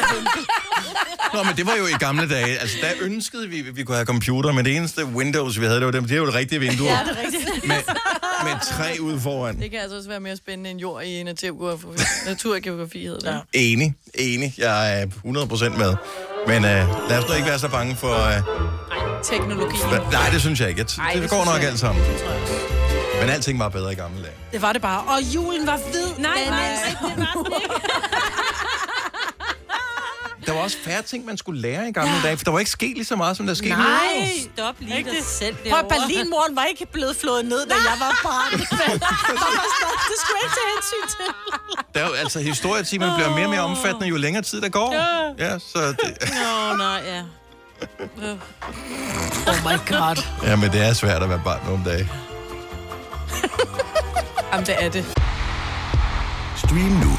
Nå, men det var jo i gamle dage. Altså, der ønskede vi, at vi kunne have computer, men det eneste Windows, vi havde, det var dem. Det er jo et rigtigt vindue. rigtigt. Men, med tre ude foran. Det kan altså også være mere spændende end jord i naturgeografi, naturgeografi hedder det. Ja. Enig, enig. Jeg er 100% med. Men øh, lad os nu ikke være så bange for... Øh, Teknologi. hva- nej, det synes jeg ikke. Jeg t- Ej, det, det går synes nok jeg alt sammen. Men alting var bedre i gamle dage. Det var det bare. Og julen var hvid. øh, Nej, Den nej, er- nej, det var den ikke. Der var også færre ting, man skulle lære i gamle dage, for der var ikke sket lige så meget, som der sker nu. Nej, stop lige dig selv Prøv, derovre. at Berlinmuren var ikke blevet flået ned, da jeg var barn. det skulle jeg ikke tage hensyn til. Der er jo, altså, historietimerne bliver mere og mere omfattende, jo længere tid der går. Ja. Ja, så det, Nå, nej, ja. Oh my god. ja, men det er svært at være barn nogle dage. Jamen, det er det. Stream nu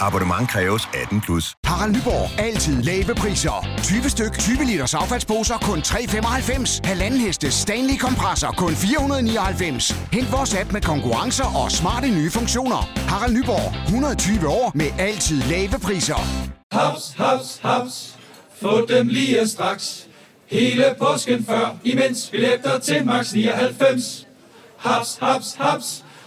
Abonnement kræves 18 plus. Harald Nyborg. Altid lave priser. 20 styk, 20 liters affaldsposer kun 3,95. Halvanden heste Stanley kompresser kun 499. Hent vores app med konkurrencer og smarte nye funktioner. Harald Nyborg. 120 år med altid lave priser. Haps, haps, haps. Få dem lige straks. Hele påsken før, imens billetter til max 99. Haps, haps, haps.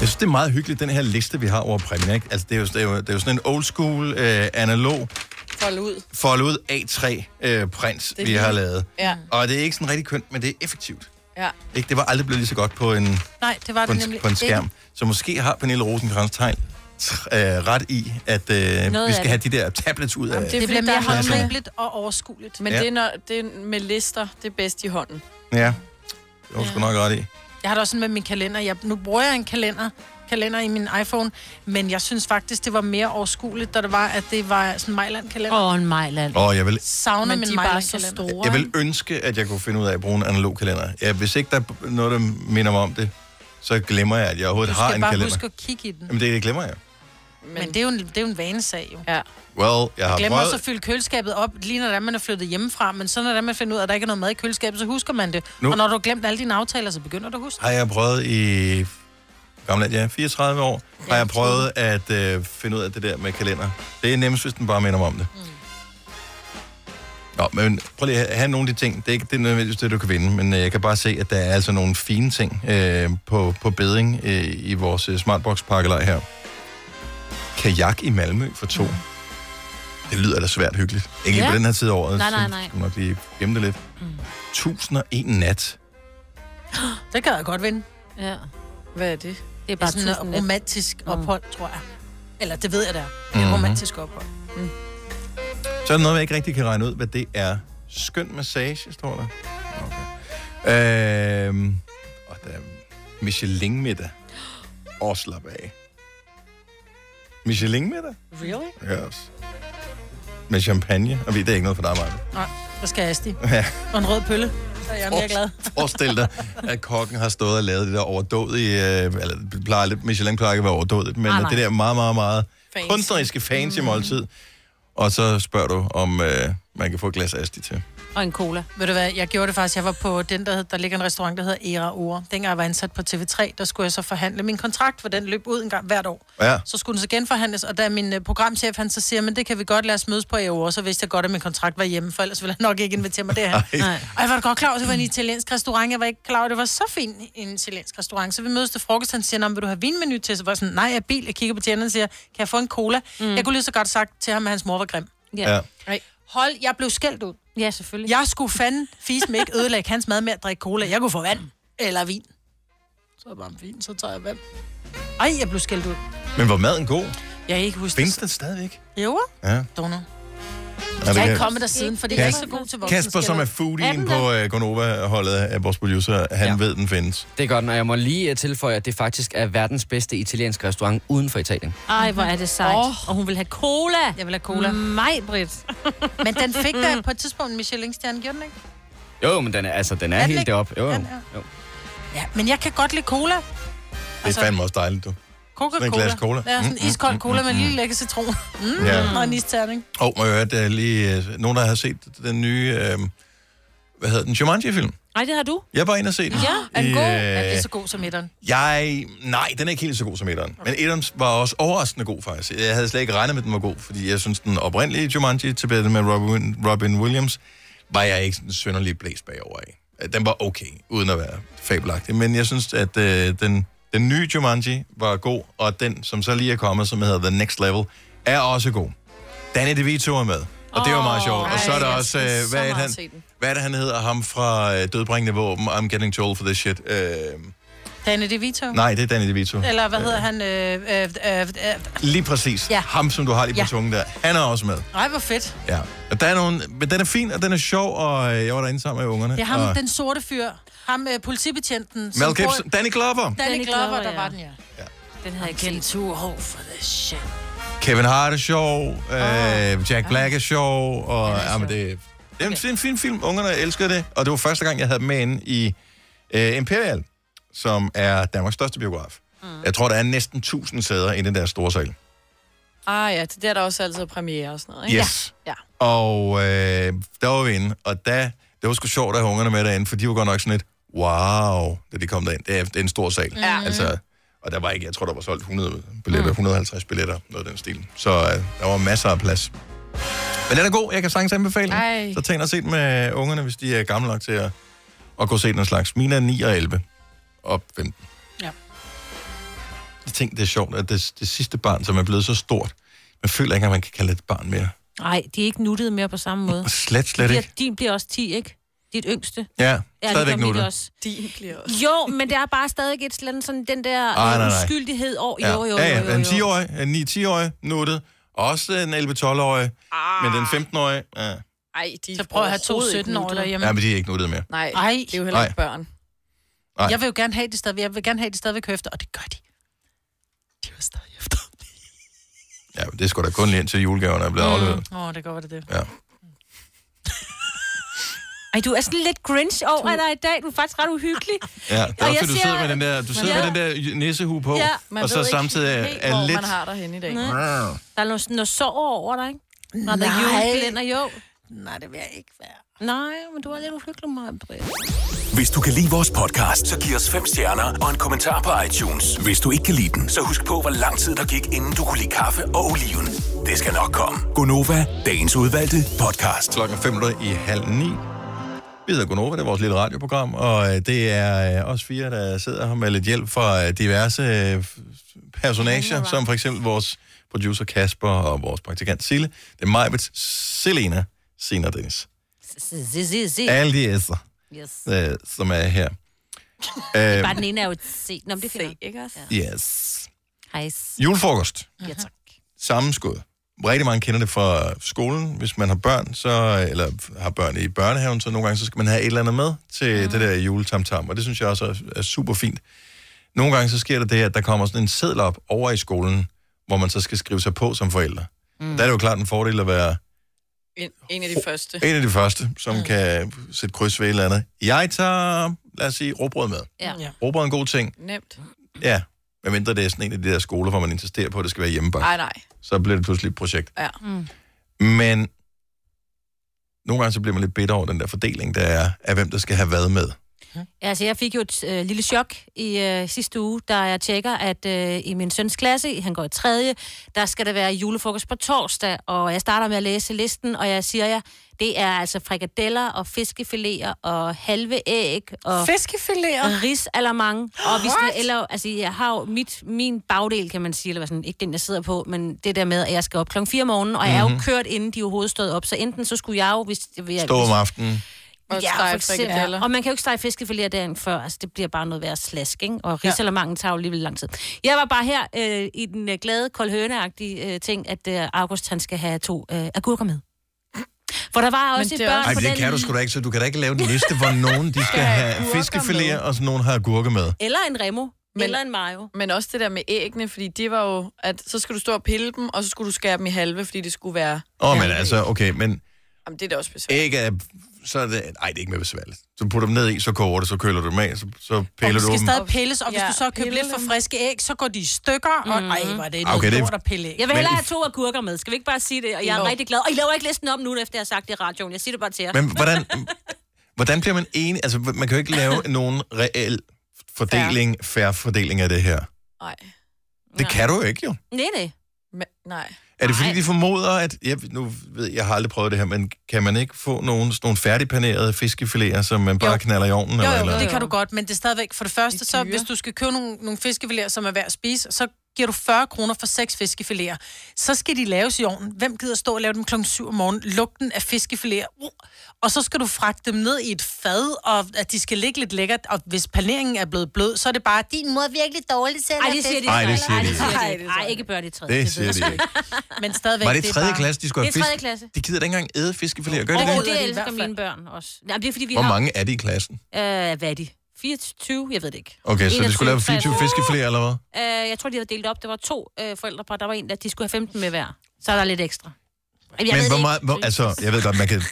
Jeg synes, det er meget hyggeligt, den her liste, vi har over præmier. Ikke? Altså, det, er jo, det, er jo, det er jo sådan en old school, øh, analog, Fold ud. folde ud A3-print, Det er øh, vi har lige- lavet. Ja. Og det er ikke sådan rigtig kønt, men det er effektivt. Ja. Ikke? Det var aldrig blevet lige så godt på en, Nej, det var på det en, nemlig på en skærm. ikke. Så måske har Pernille rosenkrantz tegn øh, ret i, at øh, vi af skal det. have de der tablets ud af. Jamen, det, er, det bliver mere håndgribeligt. håndgribeligt og overskueligt. Men Ja. ja. det, er, når, det er med lister, det er bedst i hånden. Ja, det var sgu nok ret i. Jeg har det også sådan med min kalender. Jeg, nu bruger jeg en kalender, kalender i min iPhone, men jeg synes faktisk, det var mere overskueligt, da det var, at det var sådan en Mejland-kalender. Åh, en Mejland. Åh, jeg vil- Savner Men min de er bare Mejland-kalender. så store. Jeg vil ønske, at jeg kunne finde ud af at bruge en analog kalender. Ja, hvis ikke der er noget, der minder mig om det, så glemmer jeg, at jeg Du overhovedet har skal en bare kalender. huske at kigge i den. Jamen, det, det glemmer jeg. Men, men det, er jo en, det er jo en vanesag, jo. Ja. Well, jeg har Jeg glemmer prøvet... også at fylde køleskabet op, lige når det er, man er flyttet hjemmefra, men så når det er, man finder ud af, at der ikke er noget mad i køleskabet, så husker man det. Nu- Nu. Og når du har glemt alle dine aftaler, så begynder du at huske. har jeg prøvet i gamle ja, 34 år, har jeg prøvet at øh, finde ud af det der med kalender. Det er nemmest, hvis den bare minder mig om det. Mm. Nå, men prøv lige at have nogle af de ting. Det er ikke det er nødvendigvis det, du kan vinde, men øh, jeg kan bare se, at der er altså nogle fine ting øh, på, på beding øh, i vores øh, Smartbox-pakkelej her. Kajak i Malmø for to. Mm. Det lyder da svært hyggeligt. Ikke ja. Ja. på den her tid af året. Nej, nej, så nej. Skal man nok lige gemme det lidt. Mm. 1001 nat. Det kan jeg godt vinde. Ja. Hvad er det? Det er bare sådan tusind et net. romantisk Nå. ophold, tror jeg. Eller det ved jeg da. Det er Mhm. et romantisk ophold. Mm. Så er der noget, jeg ikke rigtig kan regne ud, hvad det er. Skøn massage, står der. Okay. Øhm, og der er Michelin-middag. Og slap af. Michelin-middag? Really? Ja, også. Med champagne. Og vi- det er ikke noget for dig, Maja. Nej, så skal jeg asti. Ja. Og en rød pølle. Så er jeg mere glad. Forestil dig, at kokken har stået og lavet det der overdådige, øh, eller det plejer lidt, Michelin plejer ikke at være overdådigt, men Nej, nej. det der meget, meget, meget fancy. kunstneriske fancy mm. måltid. Og så spørger du, om øh, man kan få et glas Asti til. Og en cola. Ved du hvad, jeg gjorde det faktisk. Jeg var på den, der, hed, der ligger en restaurant, der hedder Era Ure. Dengang jeg var ansat på TV3, der skulle jeg så forhandle min kontrakt, for den løb ud en gang hvert år. Ja. Så skulle den så genforhandles, og da min øh, programchef, han så siger, men det kan vi godt lade os mødes på Era Ure, så vidste jeg godt, at min kontrakt var hjemme, for ellers ville han nok ikke invitere mig derhen. Nej. Og jeg var da godt klar over, at det var en italiensk restaurant. Jeg var ikke klar over, at det var så fint en italiensk restaurant. Så vi mødes til frokost, han siger, "Nå, men vil du have vinmenu til? Så var jeg sådan, nej, jeg er bil. Jeg kigger på tjeneren og siger, kan jeg få en cola? Mm. Jeg kunne lige så godt sagt til ham, at hans mor var grim. Ja. Right. Hold, jeg blev skældt ud. Ja, selvfølgelig. Jeg skulle fanden fise mig ikke ødelægge hans mad med at drikke cola. Jeg kunne få vand eller vin. Så er det bare vin, så tager jeg vand. Ej, jeg blev skældt ud. Men var maden god? Jeg kan ikke huske Findes den stadigvæk? Jo, Ja. don't know. det Jeg er kan- ikke kommet der siden, fordi jeg er ikke så god til voksne. Kasper, som er foodien på uh, Gonova-holdet af vores producer, han ja. ved, den findes. Det er godt, og jeg må lige øh, tilføje, at det faktisk er verdens bedste italienske restaurant uden for Italien. Ej, hvor er det sejt. Oh. Og hun vil have cola. Jeg vil have cola. Mig, Britt. Men den fik da på et tidspunkt en Michelin-stjerne, gjorde den ikke? Jo, men den er, altså, den er Er den helt ikke? deroppe. Jo, jo. Den jo. Ja, men jeg kan godt lide cola. Det er fandme også dejligt, du. Coca-Cola. Sådan en glas cola. Mm, Ja, sådan en iskold cola med en lille lækker citron. Mm, Ja. Og en isterning. Og må jeg høre, der er lige øh, nogen, der har set den nye, øh, hvad hedder den, Jumanji-film. Nej, det har du. Jeg var inde og se den. Ja, er den I, god? øh, Er det så god som etteren? Jeg, nej, den er ikke helt så god som etteren. Okay. Men etteren var også overraskende god, faktisk. Jeg havde slet ikke regnet med, at den var god, fordi jeg synes, den oprindelige Jumanji til bedre med Robin, Robin Williams, var jeg ikke sådan synderlig blæst bagover i. Øh, Den var okay, uden at være fabelagtig. Men jeg synes, at øh, den, den nye Jumanji var god, og den, som så lige er kommet, som hedder The Next Level, er også god. Danny DeVito er med, og det var meget sjovt. Og så er der også, øh, hvad, er det, han, hvad er det, han hedder? Ham fra øh, Dødbringende Våben, I'm Getting Told for This Shit. Øh, Danny DeVito? Nej, det er Danny DeVito. Eller hvad hedder han? Øh, øh, øh, øh, Lige præcis. Ja. Ja. Ham, som du har lige på Ja. ja. tungen der. Han er også med. Ej, hvor fedt. Ja. Og der er nogen, men den er fin, og den er sjov, og øh, jeg var derinde sammen med ungerne. Det er ham, og den sorte fyr. Ham, øh, politibetjenten. som Mel Gibson. bor- Danny Glover. Danny Danny Glover, Glover, der ja. var den, ja. Den havde jeg kendt. Too old for this shit. Kevin Hart er sjov. Øh, Jack Black er sjov. Og, ja, men det, det er en fin, fin film. Ungerne elskede det. Og det var første gang, jeg havde dem med inde i øh, Imperial, som er Danmarks største biograf. Mm. Jeg tror, der er næsten 1000 sæder inde i den der store sal. Ah ja, det der er der også altid premiere og sådan noget, ikke? Yes. Ja. Og øh, der var vi inde, og da, det var sgu sjovt at have ungerne med derinde, for de var godt nok sådan lidt, wow, da de kom derind. Det er, det er en stor sal. Ja. Mm. Altså, og der var ikke, jeg tror, der var solgt 100 billetter, 150 billetter, noget af den stil. Så øh, der var masser af plads. Men den er god, jeg kan sagtens anbefale den. Ej. Så tag ind og se den med ungerne, hvis de er gamle nok til at, at gå og se den slags. Mine er 9 og 11 og 15. Ja. Jeg tænkte, det er sjovt, at det, det sidste barn, som er blevet så stort, man føler ikke, at man kan kalde det et barn mere. Nej, de er ikke nuttede mere på samme måde. Slet, slet De er- ikke. Din bliver også 10, ikke? Dit yngste. Ja, Ja, stadigvæk ligesom mit nuttet. også. De bliver også. Jo, men der er bare stadig et eller andet sådan, den der Ej, nej, øh, nej. uskyldighed over. Ja. Jo, jo, jo, ja, jo, ja. jo. En 10-årig, en 9-10-årig nuttet, også en 11-12-årig, Ah. men den 15-årige, ja. Mm. Ej, de Så prøv at have to overhovedet ikke 17-årige nuttet. derhjemme. ja, men de er ikke nuttet mere. Nej, Ej. det er jo heller ikke børn. Nej. Jeg vil jo gerne have, at de stadigvæk, jeg vil gerne have, at de stadigvæk hører efter, og det gør de. De hører stadig efter. Ja, men det er sgu da kun lige indtil julegaverne er Mm. blevet afleveret. Åh, oh, det går, det er det. Ja. Ej, du er sådan lidt grinch over dig i dag. Du er faktisk ret uhyggelig. Ja, det er Og også, jeg fordi du ser- sidder med den der, du sidder Ja. med den der nissehue på, Ja, man og så ved ikke samtidig er, helt, er hvor lidt... man har dig henne i dag. Nej. Brrr. Der er noget, noget sår over dig, ikke? Når der Nej. er julekalender, jo. Nej, det vil jeg ikke være. Nej, men du er lidt uhyggelig, mig, Britt. Hvis du kan lide vores podcast, så giv os fem stjerner og en kommentar på iTunes. Hvis du ikke kan lide den, så husk på, hvor lang tid der gik, inden du kunne lide kaffe og oliven. Det skal nok komme. Gonova, dagens udvalgte podcast. Klokken er fem minutter i halv ni. Vi hedder Gonova, det er vores lille radioprogram, og øh, det er øh, os fire, der sidder her med lidt hjælp fra øh, diverse øh, personager, som for eksempel vores producer Kasper og vores praktikant Sille. Det er Majbet, Selena, Sina og Dennis. Alle de æsser, Yes. øh, som er her. Det er Øhm, Bare den ene er jo et C. Nå, men det finder ikke også? Yes. Hej. Julefrokost. Ja, tak. sammenskud. Rigtig mange kender det fra skolen. Hvis man har børn, så, eller har børn i børnehaven, så nogle gange så skal man have et eller andet med til mm. det der juletamtam, og det synes jeg også er, er super fint. Nogle gange så sker der det, at der kommer sådan en seddel op over i skolen, hvor man så skal skrive sig på som forældre. Mm. Der er det jo klart en fordel at være En, en af de første. en af de første, som mm. kan sætte kryds ved et eller andet. Jeg tager, lad os sige, råbrød med. Ja. Råbrød er en god ting, Nemt. ja. Medmindre det er sådan en af de der skoler, hvor man insisterer på, at det skal være hjemmebagt. Nej, nej. Så bliver det pludselig et projekt. Mm. Ja. Men nogle gange så bliver man lidt bitter over den der fordeling, der er af hvem, der skal have hvad med. Altså, jeg fik jo et øh, lille chok i øh, sidste uge, da jeg tjekker, at øh, i min søns klasse, han går i tredje, der skal der være julefrokost på torsdag, og jeg starter med at læse listen, og jeg siger jer, det er altså frikadeller og fiskefiléer og halve æg og... Fiskefiléer? Ris alarmang. Og vi skal, What? eller, altså, jeg har jo mit, min bagdel, kan man sige, eller hvad sådan, ikke den, jeg sidder på, men det der med, at jeg skal op klokken 4 om morgenen, og jeg er jo Mhm. kørt, inden de overhovedet stod op, så enten så skulle jeg jo... Hvis, hvis, Stå om aftenen. Og ja, stege for eksempel. frikadeller. Ja. Og man kan jo ikke stege fiskefiléer dagen før. Altså, det bliver bare noget værd slask, ikke? Og Ja. risalamangen tager jo alligevel lang tid. Jeg var bare her øh, i den øh, glade, koldhøneagtige øh, ting, at øh, August han skal have to øh, agurker med. For der var Men også det et er børn Ej, på det den kan du sgu da ikke, så du kan da ikke lave en liste, hvor nogen de skal have agurker fiskefiléer, med. og sådan nogen har agurker med. Eller en remo. Men, eller en mayo. Men også det der med æggene, fordi det var jo, at så skulle du stå og pille dem, og så skulle du skære dem i halve, fordi det skulle være... Åh, oh, men altså, okay, men Jamen, det er da også besværligt. æg er... Så er det, ej, det er ikke mere besværligt. Så putter dem ned i, så koger det, så køler du dem af, så, så piller og du skal dem. stadig pilles, og hvis Ja, du så har købt pille lidt for friske æg, så går de i stykker, og Mhm. ej, var det Ah, noget okay, okay, det- lort at pille æg. Jeg vil hellere Men- have to agurker med. Skal vi ikke bare sige det? Og jeg er Jo. rigtig glad. Og I laver ikke listen op nu, efter jeg har sagt det i radioen. Jeg siger det bare til jer. Men hvordan, hvordan bliver man enig? Altså, man kan jo ikke lave nogen reel fordeling, færre fordeling af det her. Nej. Det kan du jo ikke, jo. Nej, nej. Men, nej. Er det fordi, Nej. de formoder, at... Jeg, nu ved jeg, jeg har aldrig prøvet det her, men kan man ikke få nogle, sådan nogle færdigpanerede fiskefiléer, som man bare knaller i ovnen? Jo, jo, eller? det kan du godt, men det er stadigvæk, for det første, så hvis du skal købe nogle, nogle fiskefiléer, som er værd at spise, så giver du 40 kroner for seks fiskefiléer. Så skal de laves i ovnen. Hvem gider stå og lave dem klokken 7 om morgenen? Lugten af fiskefiléer. Uh. Og så skal du fragte dem ned i et fad, og at de skal ligge lidt lækkert. Og hvis paneringen er blevet blød, så er det bare, din mor er virkelig dårlig til at Ej, lave det siger de fisk." Ej, det siger de ikke. Nej, nej, ikke børn i tredje. Det ved siger de jeg. ikke. Men stadigvæk, Var det i tredje klasse, de skulle have Det er fisk? tredje klasse. De gider da ikke engang æde fiskefiléer, gør Åh, de det, det? det i hvert elsker fald. mine børn også. Nej, det er fordi, vi Hvor har... mange er de i klassen? Øh, hvad er de? 24? Jeg ved det ikke. Okay, så de skulle lave 24 fiskefiléer, eller hvad? Øh, jeg tror, de havde delt op. Der var to øh, forældrepar. Der var en, der de skulle have 15 med hver. Så er der lidt ekstra. Jamen, jeg men ved hvor det meget, ikke. hvor, altså, jeg ved godt, man kan,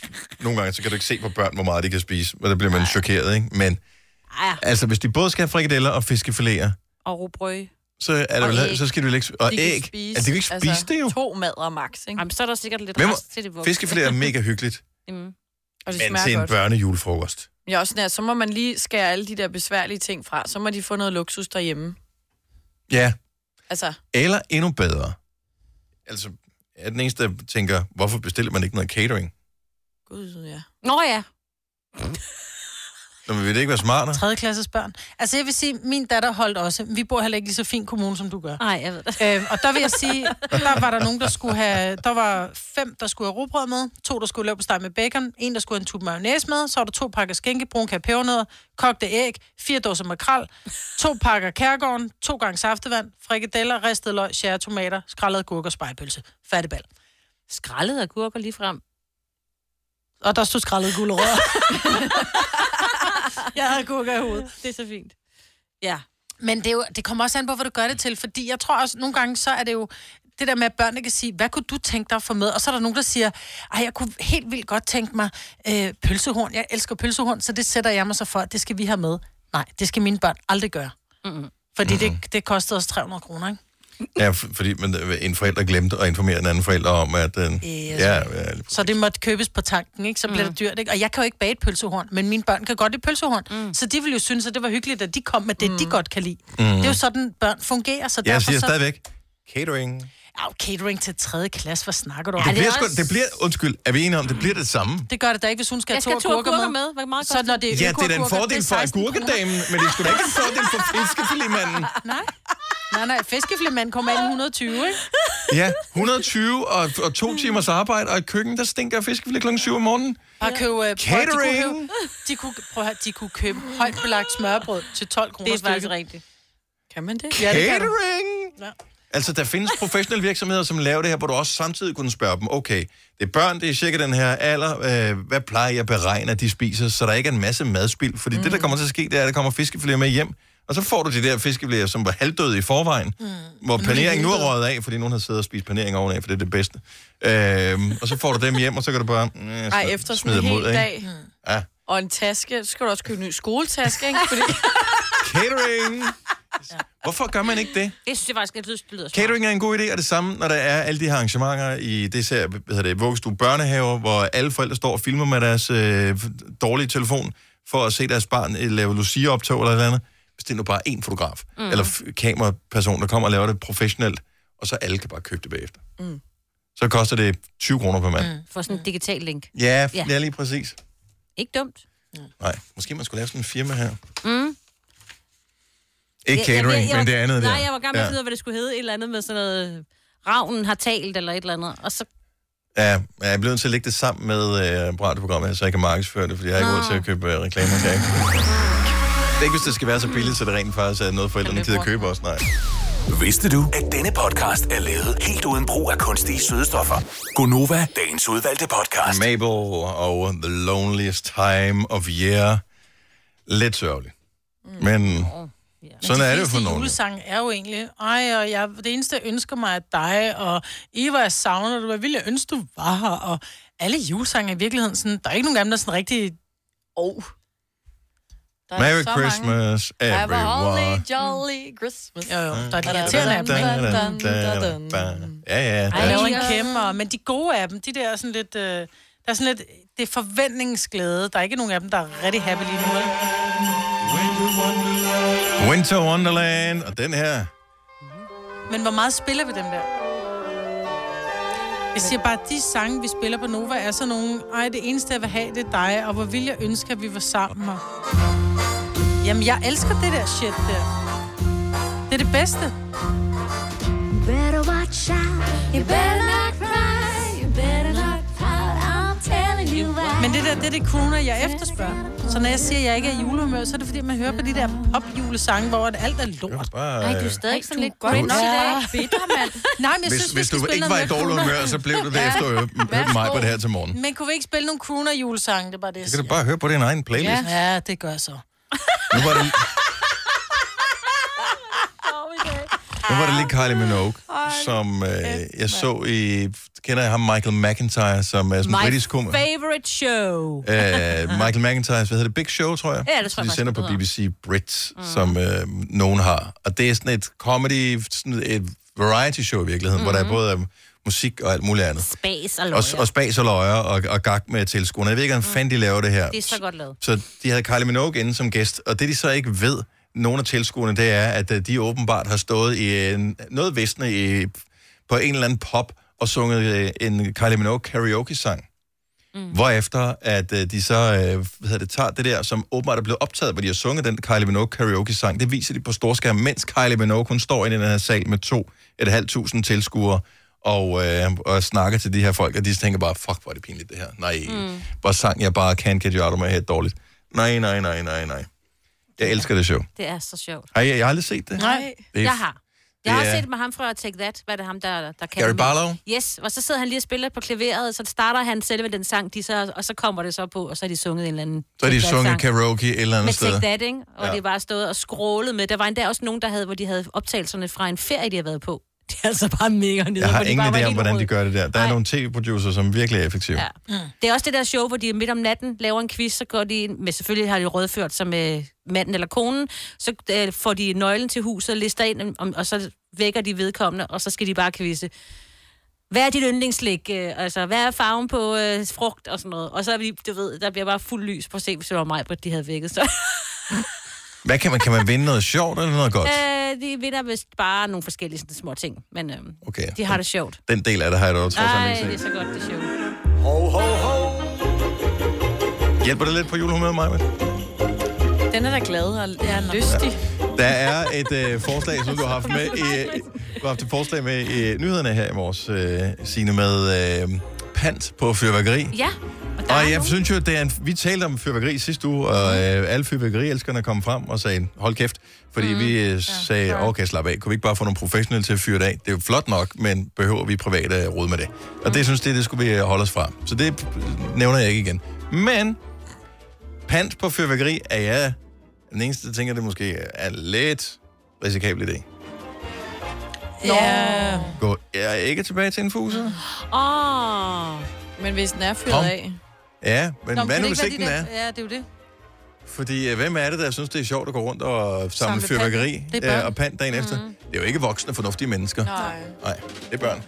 nogle gange så kan du ikke se på børn, hvor meget de kan spise, og der bliver man chokeret, ikke? Men Ej, altså, hvis de både skal have frikadeller og fiskefiléer, og rugbrød. så, er der Og vel, æg. så skal du vel ikke... Og de æg. Kan spise, altså, de kan ikke spise det, jo. To madder max, ikke? Jamen, så er der sikkert lidt Hvem, rest til de voksne. fiskefiléer er mega hyggeligt, Mm. Og det men smager til en godt. børnejulefrokost. Ja, også nær, så må man lige skære alle de der besværlige ting fra. Så må de få noget luksus derhjemme. Ja, Altså, eller endnu bedre. Altså, jeg er den eneste, der tænker, hvorfor bestiller man ikke noget catering? gud, ja. Nå ja. Nå, men vil det ikke være smartere? Tredje klasses børn. Altså jeg vil sige, min datter holdt også. Vi bor heller ikke i så fin kommune, som du gør. Nej, jeg ved det. Øhm, og der vil jeg sige, der var der nogen, der skulle have... Der var fem, der skulle have robrød med, to, der skulle lave på steg med bacon, en, der skulle have en tube mayonnaise med, så var der to pakker skænke, brun kage pebernødder, kogte æg, fire dåser makrel, to pakker kærgården, to gange saftevand, frikadeller, ristede løg, sjære tomater, skrællede gurker, spejpølse, fattigbal. Skrællede agurker lige frem. Og der stod skrællede gulerødder. jeg havde gurker i hovedet. Det er så fint. Ja. Men det, er jo, det kommer også an på, hvad du gør det til, fordi jeg tror også, nogle gange, så er det jo det der med, at børnene kan sige, hvad kunne du tænke dig at få med? Og så er der nogen, der siger, ej, jeg kunne helt vildt godt tænke mig øh, pølsehorn. Jeg elsker pølsehorn, så det sætter jeg mig så for, at det skal vi have med. Nej, det skal mine børn aldrig gøre. Mm-mm. Fordi mm-hmm. det, det kostede os 300 kroner, ikke? Ja, f- fordi men, øh, en forælder glemte at informere en anden forælder om, at den... Yes. Ja, ja, Så det måtte købes på tanken, ikke? Så bliver mm. det dyrt, ikke? Og jeg kan jo ikke bage et pølsehorn, men mine børn kan godt lide pølsehorn. Mm. Så de ville jo synes, at det var hyggeligt, at de kom med det, mm. de godt kan lide. Mm. Det er jo sådan, børn fungerer. Så jeg derfor siger så... stadigvæk, catering. Au, catering til 3 klasse, hvad snakker du om? det, bliver sgu, det bliver, undskyld, er vi enige om, det bliver det samme? Det gør det da ikke, hvis hun skal Jeg have to, skal have to agurker agurker med. med. Hvor meget så koster når det ja, det er da en fordel for agurkedamen, men det er sgu da ikke en fordel for fiskefilémanden. Nej, nej, nej. Fiskeflemanden kommer ind i 120, ikke? Ja, 120 og, og to timers arbejde, og et køkken, der stinker af fiskefilet kl. 7 om morgenen. Bare købe... øh, prøv at- De Catering! kunne, købe, de kunne, prøv at høre, de kunne købe højt belagt smørbrød til 12 kroner Det er faktisk stykket. rigtigt. Kan man det? Ja, det kan du. Catering! Ja. Altså, der findes professionelle virksomheder, som laver det her, hvor du også samtidig kunne spørge dem, okay, det er børn, det er cirka den her alder, øh, hvad plejer jeg at beregne, at de spiser, så der ikke er en masse madspild? Fordi mm. det, der kommer til at ske, det er, at der kommer fiskefiléer med hjem, og så får du de der fiskefiléer, som var halvdøde i forvejen, mm. hvor paneringen nu er røget af, fordi nogen har siddet og spist panering ovenaf, for det er det bedste. Øh, og så får du dem hjem, og så kan du bare mm, Ej, efter sådan smide en dem hel ud, ikke? dag. Ja. Og en taske. Så skal du også købe en ny skoletaske, ikke? Fordi... Catering! Hvorfor gør man ikke det? Det synes jeg faktisk, at det lyder smart. Catering er en god idé, og det samme, når der er alle de her arrangementer i det her, hvad hedder det, vuggestue børnehaver, hvor alle forældre står og filmer med deres øh, dårlige telefon, for at se deres barn øh, lave Lucia-optog eller et eller andet, bestil nu bare én fotograf, mm. Mm. eller f- kameraperson, der kommer og laver det professionelt, og så alle kan bare købe det bagefter. Mm. Så koster det 20 kroner per mand. Mm. For sådan en digital link. Ja, ja, lige præcis. Ikke dumt. Nej, måske man skulle lave sådan en firma her. Mm. Ikke Ja, catering, jeg- jeg- men det andet nej, der. Nej, jeg var gammel ja. ja. videre, hvad det skulle hedde. Et eller andet med sådan noget... øh, Ravnen har talt, eller et eller andet. Og så... Ja, men jeg er blevet nødt til at lægge det sammen med øh, radioprogrammet, så jeg kan markedsføre det, fordi jeg har ikke råd til at købe øh, reklamer til jer. Det er ikke, hvis det skal være så billigt, så det rent faktisk er noget, forældrene gider købe også, nej. Vidste du, at denne podcast er lavet helt uden brug af kunstige sødestoffer? Gonova, dagens udvalgte podcast. Mabel og The Loneliest Time of Year. Lidt sørgeligt. Mm. Men sådan er det jo for nogen. nogen. julesang er jo egentlig, ej, og jeg, det eneste, jeg ønsker mig er dig, og Eva, jeg savner dig, hvad ville jeg ønske, du var her, og alle julesange er i virkeligheden sådan, der er ikke nogen af dem, der er sådan Mm. rigtig... øh, Oh. Merry Christmas, Have a holly everyone. jolly Christmas. Jo, jo, der er de Da, da, irriterende af dem, Da, ikke? da, da, da, da. Ja, ja. Ej, der- der er en kæmpe, og- men de gode af dem, de der er sådan lidt... Øh, der er sådan lidt... Det er forventningsglæde. Der er ikke nogen af dem, der er rigtig happy lige nu. ikke? Winter Wonderland, og den her. Men hvor meget spiller vi dem der? Jeg siger bare, at de sange, vi spiller på Nova, er sådan nogle... Ej, det eneste, jeg vil have, det er dig, og hvor vil jeg ønske, at vi var sammen. Og... Jamen, jeg elsker det der shit der. Det er det bedste. better watch out. You better not cry. You better not pout. I'm telling you why. Men det der, det er det kroner, jeg efterspørger. Så når jeg siger, at jeg ikke er i julehumør, så er det fordi, man hører på de der popjulesange, hvor at alt er lort. Bare, Ej, du er stadig sådan lidt godt nok i dag. Bitter, mand. Nej, men jeg Hvis, synes, hvis vi du skal spille ikke var noget i mere dårlig crooner. humør, så blev du det Ja. efter at høre hørte mig på det her til morgen. Men kunne vi ikke spille nogle crooner julesange? Det er bare det, jeg Så kan du siger. bare høre på din egen playlist. Ja, ja det gør jeg så. Nu var det, nu var det lige Kylie Minogue, som øh, jeg så i... Kender jeg ham? Michael McIntyre, som er sådan en britisk komiker. favorite show. Øh, Michael McIntyre, hvad hedder det? Big Show, tror jeg. Ja, det tror jeg De faktisk, sender det på hedder. BBC Brit, mm. som øh, nogen har. Og det er sådan et comedy, sådan et variety show i virkeligheden, mm. hvor der er både øh, musik og alt muligt andet. Bas og og, løjer. og spas og løjer og, og gag med tilskuerne. Jeg ved ikke, om mm. fanden de laver det her. Det er så godt lavet. Så de havde Kylie Minogue inde som gæst, og det de så ikke ved, nogle af tilskuerne, det er, at øh, de åbenbart har stået i en, noget visne i, på en eller anden pop og sunget øh, en Kylie Minogue karaoke-sang. Mm. Hvorefter, at øh, de så øh, hvad hedder det, tager det der, som åbenbart er blevet optaget, hvor de har sunget den Kylie Minogue karaoke-sang, det viser de på storskærm, mens Kylie Minogue, hun står inde i den her sal med to et halvt tusind tilskuere, og, øh, og snakker til de her folk, og de tænker bare, fuck, hvor er det pinligt det her. Nej, mm. hvor sang jeg bare Can't Get You Out of My Head dårligt. Nej, nej, nej, nej, nej. Jeg elsker det show. Det er så sjovt. Har I, jeg har aldrig set det? Nej, Det er jeg har. det Jeg har er- også set med ham fra Take That, hvad er det ham, der, der kan Gary det med? Barlow? Yes, og så sidder han lige og spiller på klaveret, så starter han selve den sang, de så, og så kommer det så på, og så har de sunget en eller anden Så er de Take That-sang. sunget karaoke et eller andet med sted. Take That, ikke? Og Ja. ja. det bare stået og scrollet med. Der var endda også nogen, der havde, hvor de havde optagelserne fra en ferie, de havde været på. Det er altså bare mega nede. Jeg har hvor de ingen bare var idé om, helt hvordan de røde. gør det der. Der er nogle tv-producer, som virkelig er effektive. Ja. Det er også det der show, hvor de midt om natten laver en quiz, så går de ind, men selvfølgelig har de rødført sig med manden eller konen, så øh, får de nøglen til huset og lister ind, om, og så vækker de vedkommende, og så skal de bare quizze. Hvad er dit yndlingslæg? Øh, altså, hvad er farven på øh, frugt og sådan noget? Og så er vi, du ved, der bliver bare fuld lys på at se, hvis det var mig, de havde vækket. Så. Hvad kan man, kan man vinde noget sjovt eller noget godt? Øh, de vinder vist bare nogle forskellige sådan, små ting, men øh, Okay. de har det sjovt. Den del af det har jeg da trods alt Nej, ikke det er set. så godt, det er sjovt. Ho, ho, ho. Hjælper det lidt på julehumøret, Maja? Den er da glad og jeg er lystig. Der er et øh, forslag, som du har haft med i, øh, du har haft et forslag med i nyhederne her i morges, øh, Signe, med øh, pant på fyrværkeri. Ja, Og jeg synes jo, at det er en, vi talte om fyrværkeri sidste uge, Mm. og øh, alle fyrværkerielskerne kom frem og sagde, hold kæft, fordi mm. vi øh, sagde, ja, okay, slap af, kunne vi ikke bare få nogle professionelle til at fyre det af? Det er jo flot nok, men behøver vi private at rode med det? Og Mm. det synes det, det skulle vi øh, holde os fra. Så det øh, nævner jeg ikke igen. Men pant på fyrværkeri er jeg den eneste, der tænker, det måske er lidt risikabel idé. Ja. Gå jeg ikke tilbage til en fuser? Åh. Men hvis den er fyret Kom. af. Ja, men Nå, hvad kan nu det hvis ikke ikke den være er? de der- Ja, det er jo det. Fordi øh, hvem er det, der synes, det er sjovt at gå rundt og samle Samle pant. fyrværkeri Det er børn. øh, og pant dagen efter? Det er jo ikke voksne, fornuftige mennesker. Nej. Nej, det er børn.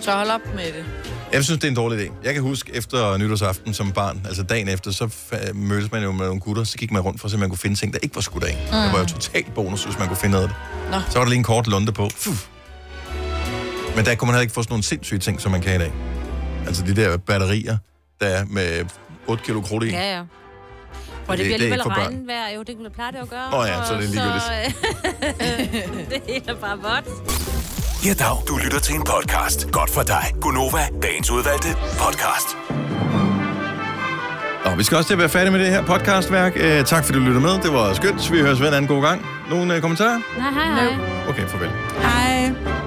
Så hold op med det. Jeg synes, det er en dårlig idé. Jeg kan huske efter nytårsaften som barn, altså dagen efter, så fa- mødtes man jo med nogle gutter, så gik man rundt for at se, om man kunne finde ting, der ikke var skudt af. Mm. Det var jo totalt bonus, hvis man kunne finde noget af det. Nå. Så var der lige en kort lunde på. Fuh. Men der kunne man heller ikke få sådan nogle sindssyge ting, som man kan i dag. Altså de der batterier, der er med 8 kilo krudt i. Ja, ja. Og Det- det, det er bliver ikke alligevel for børn. regnvejr, jo, det kunne det plejer det at gøre. Nå ja, så er det ligegyldigt. ligegyldigt. det hele er bare vådt. Ja, dag. Du lytter til en podcast. Godt for dig. Gunova, dagens udvalgte podcast. Nå, vi skal også til at være færdige med det her podcastværk. Øh, tak fordi du lyttede med. Det var skønt. Vi høres ved en anden god gang. Nogle øh, kommentarer? Nej, hej, hej. Okay, farvel. Hej.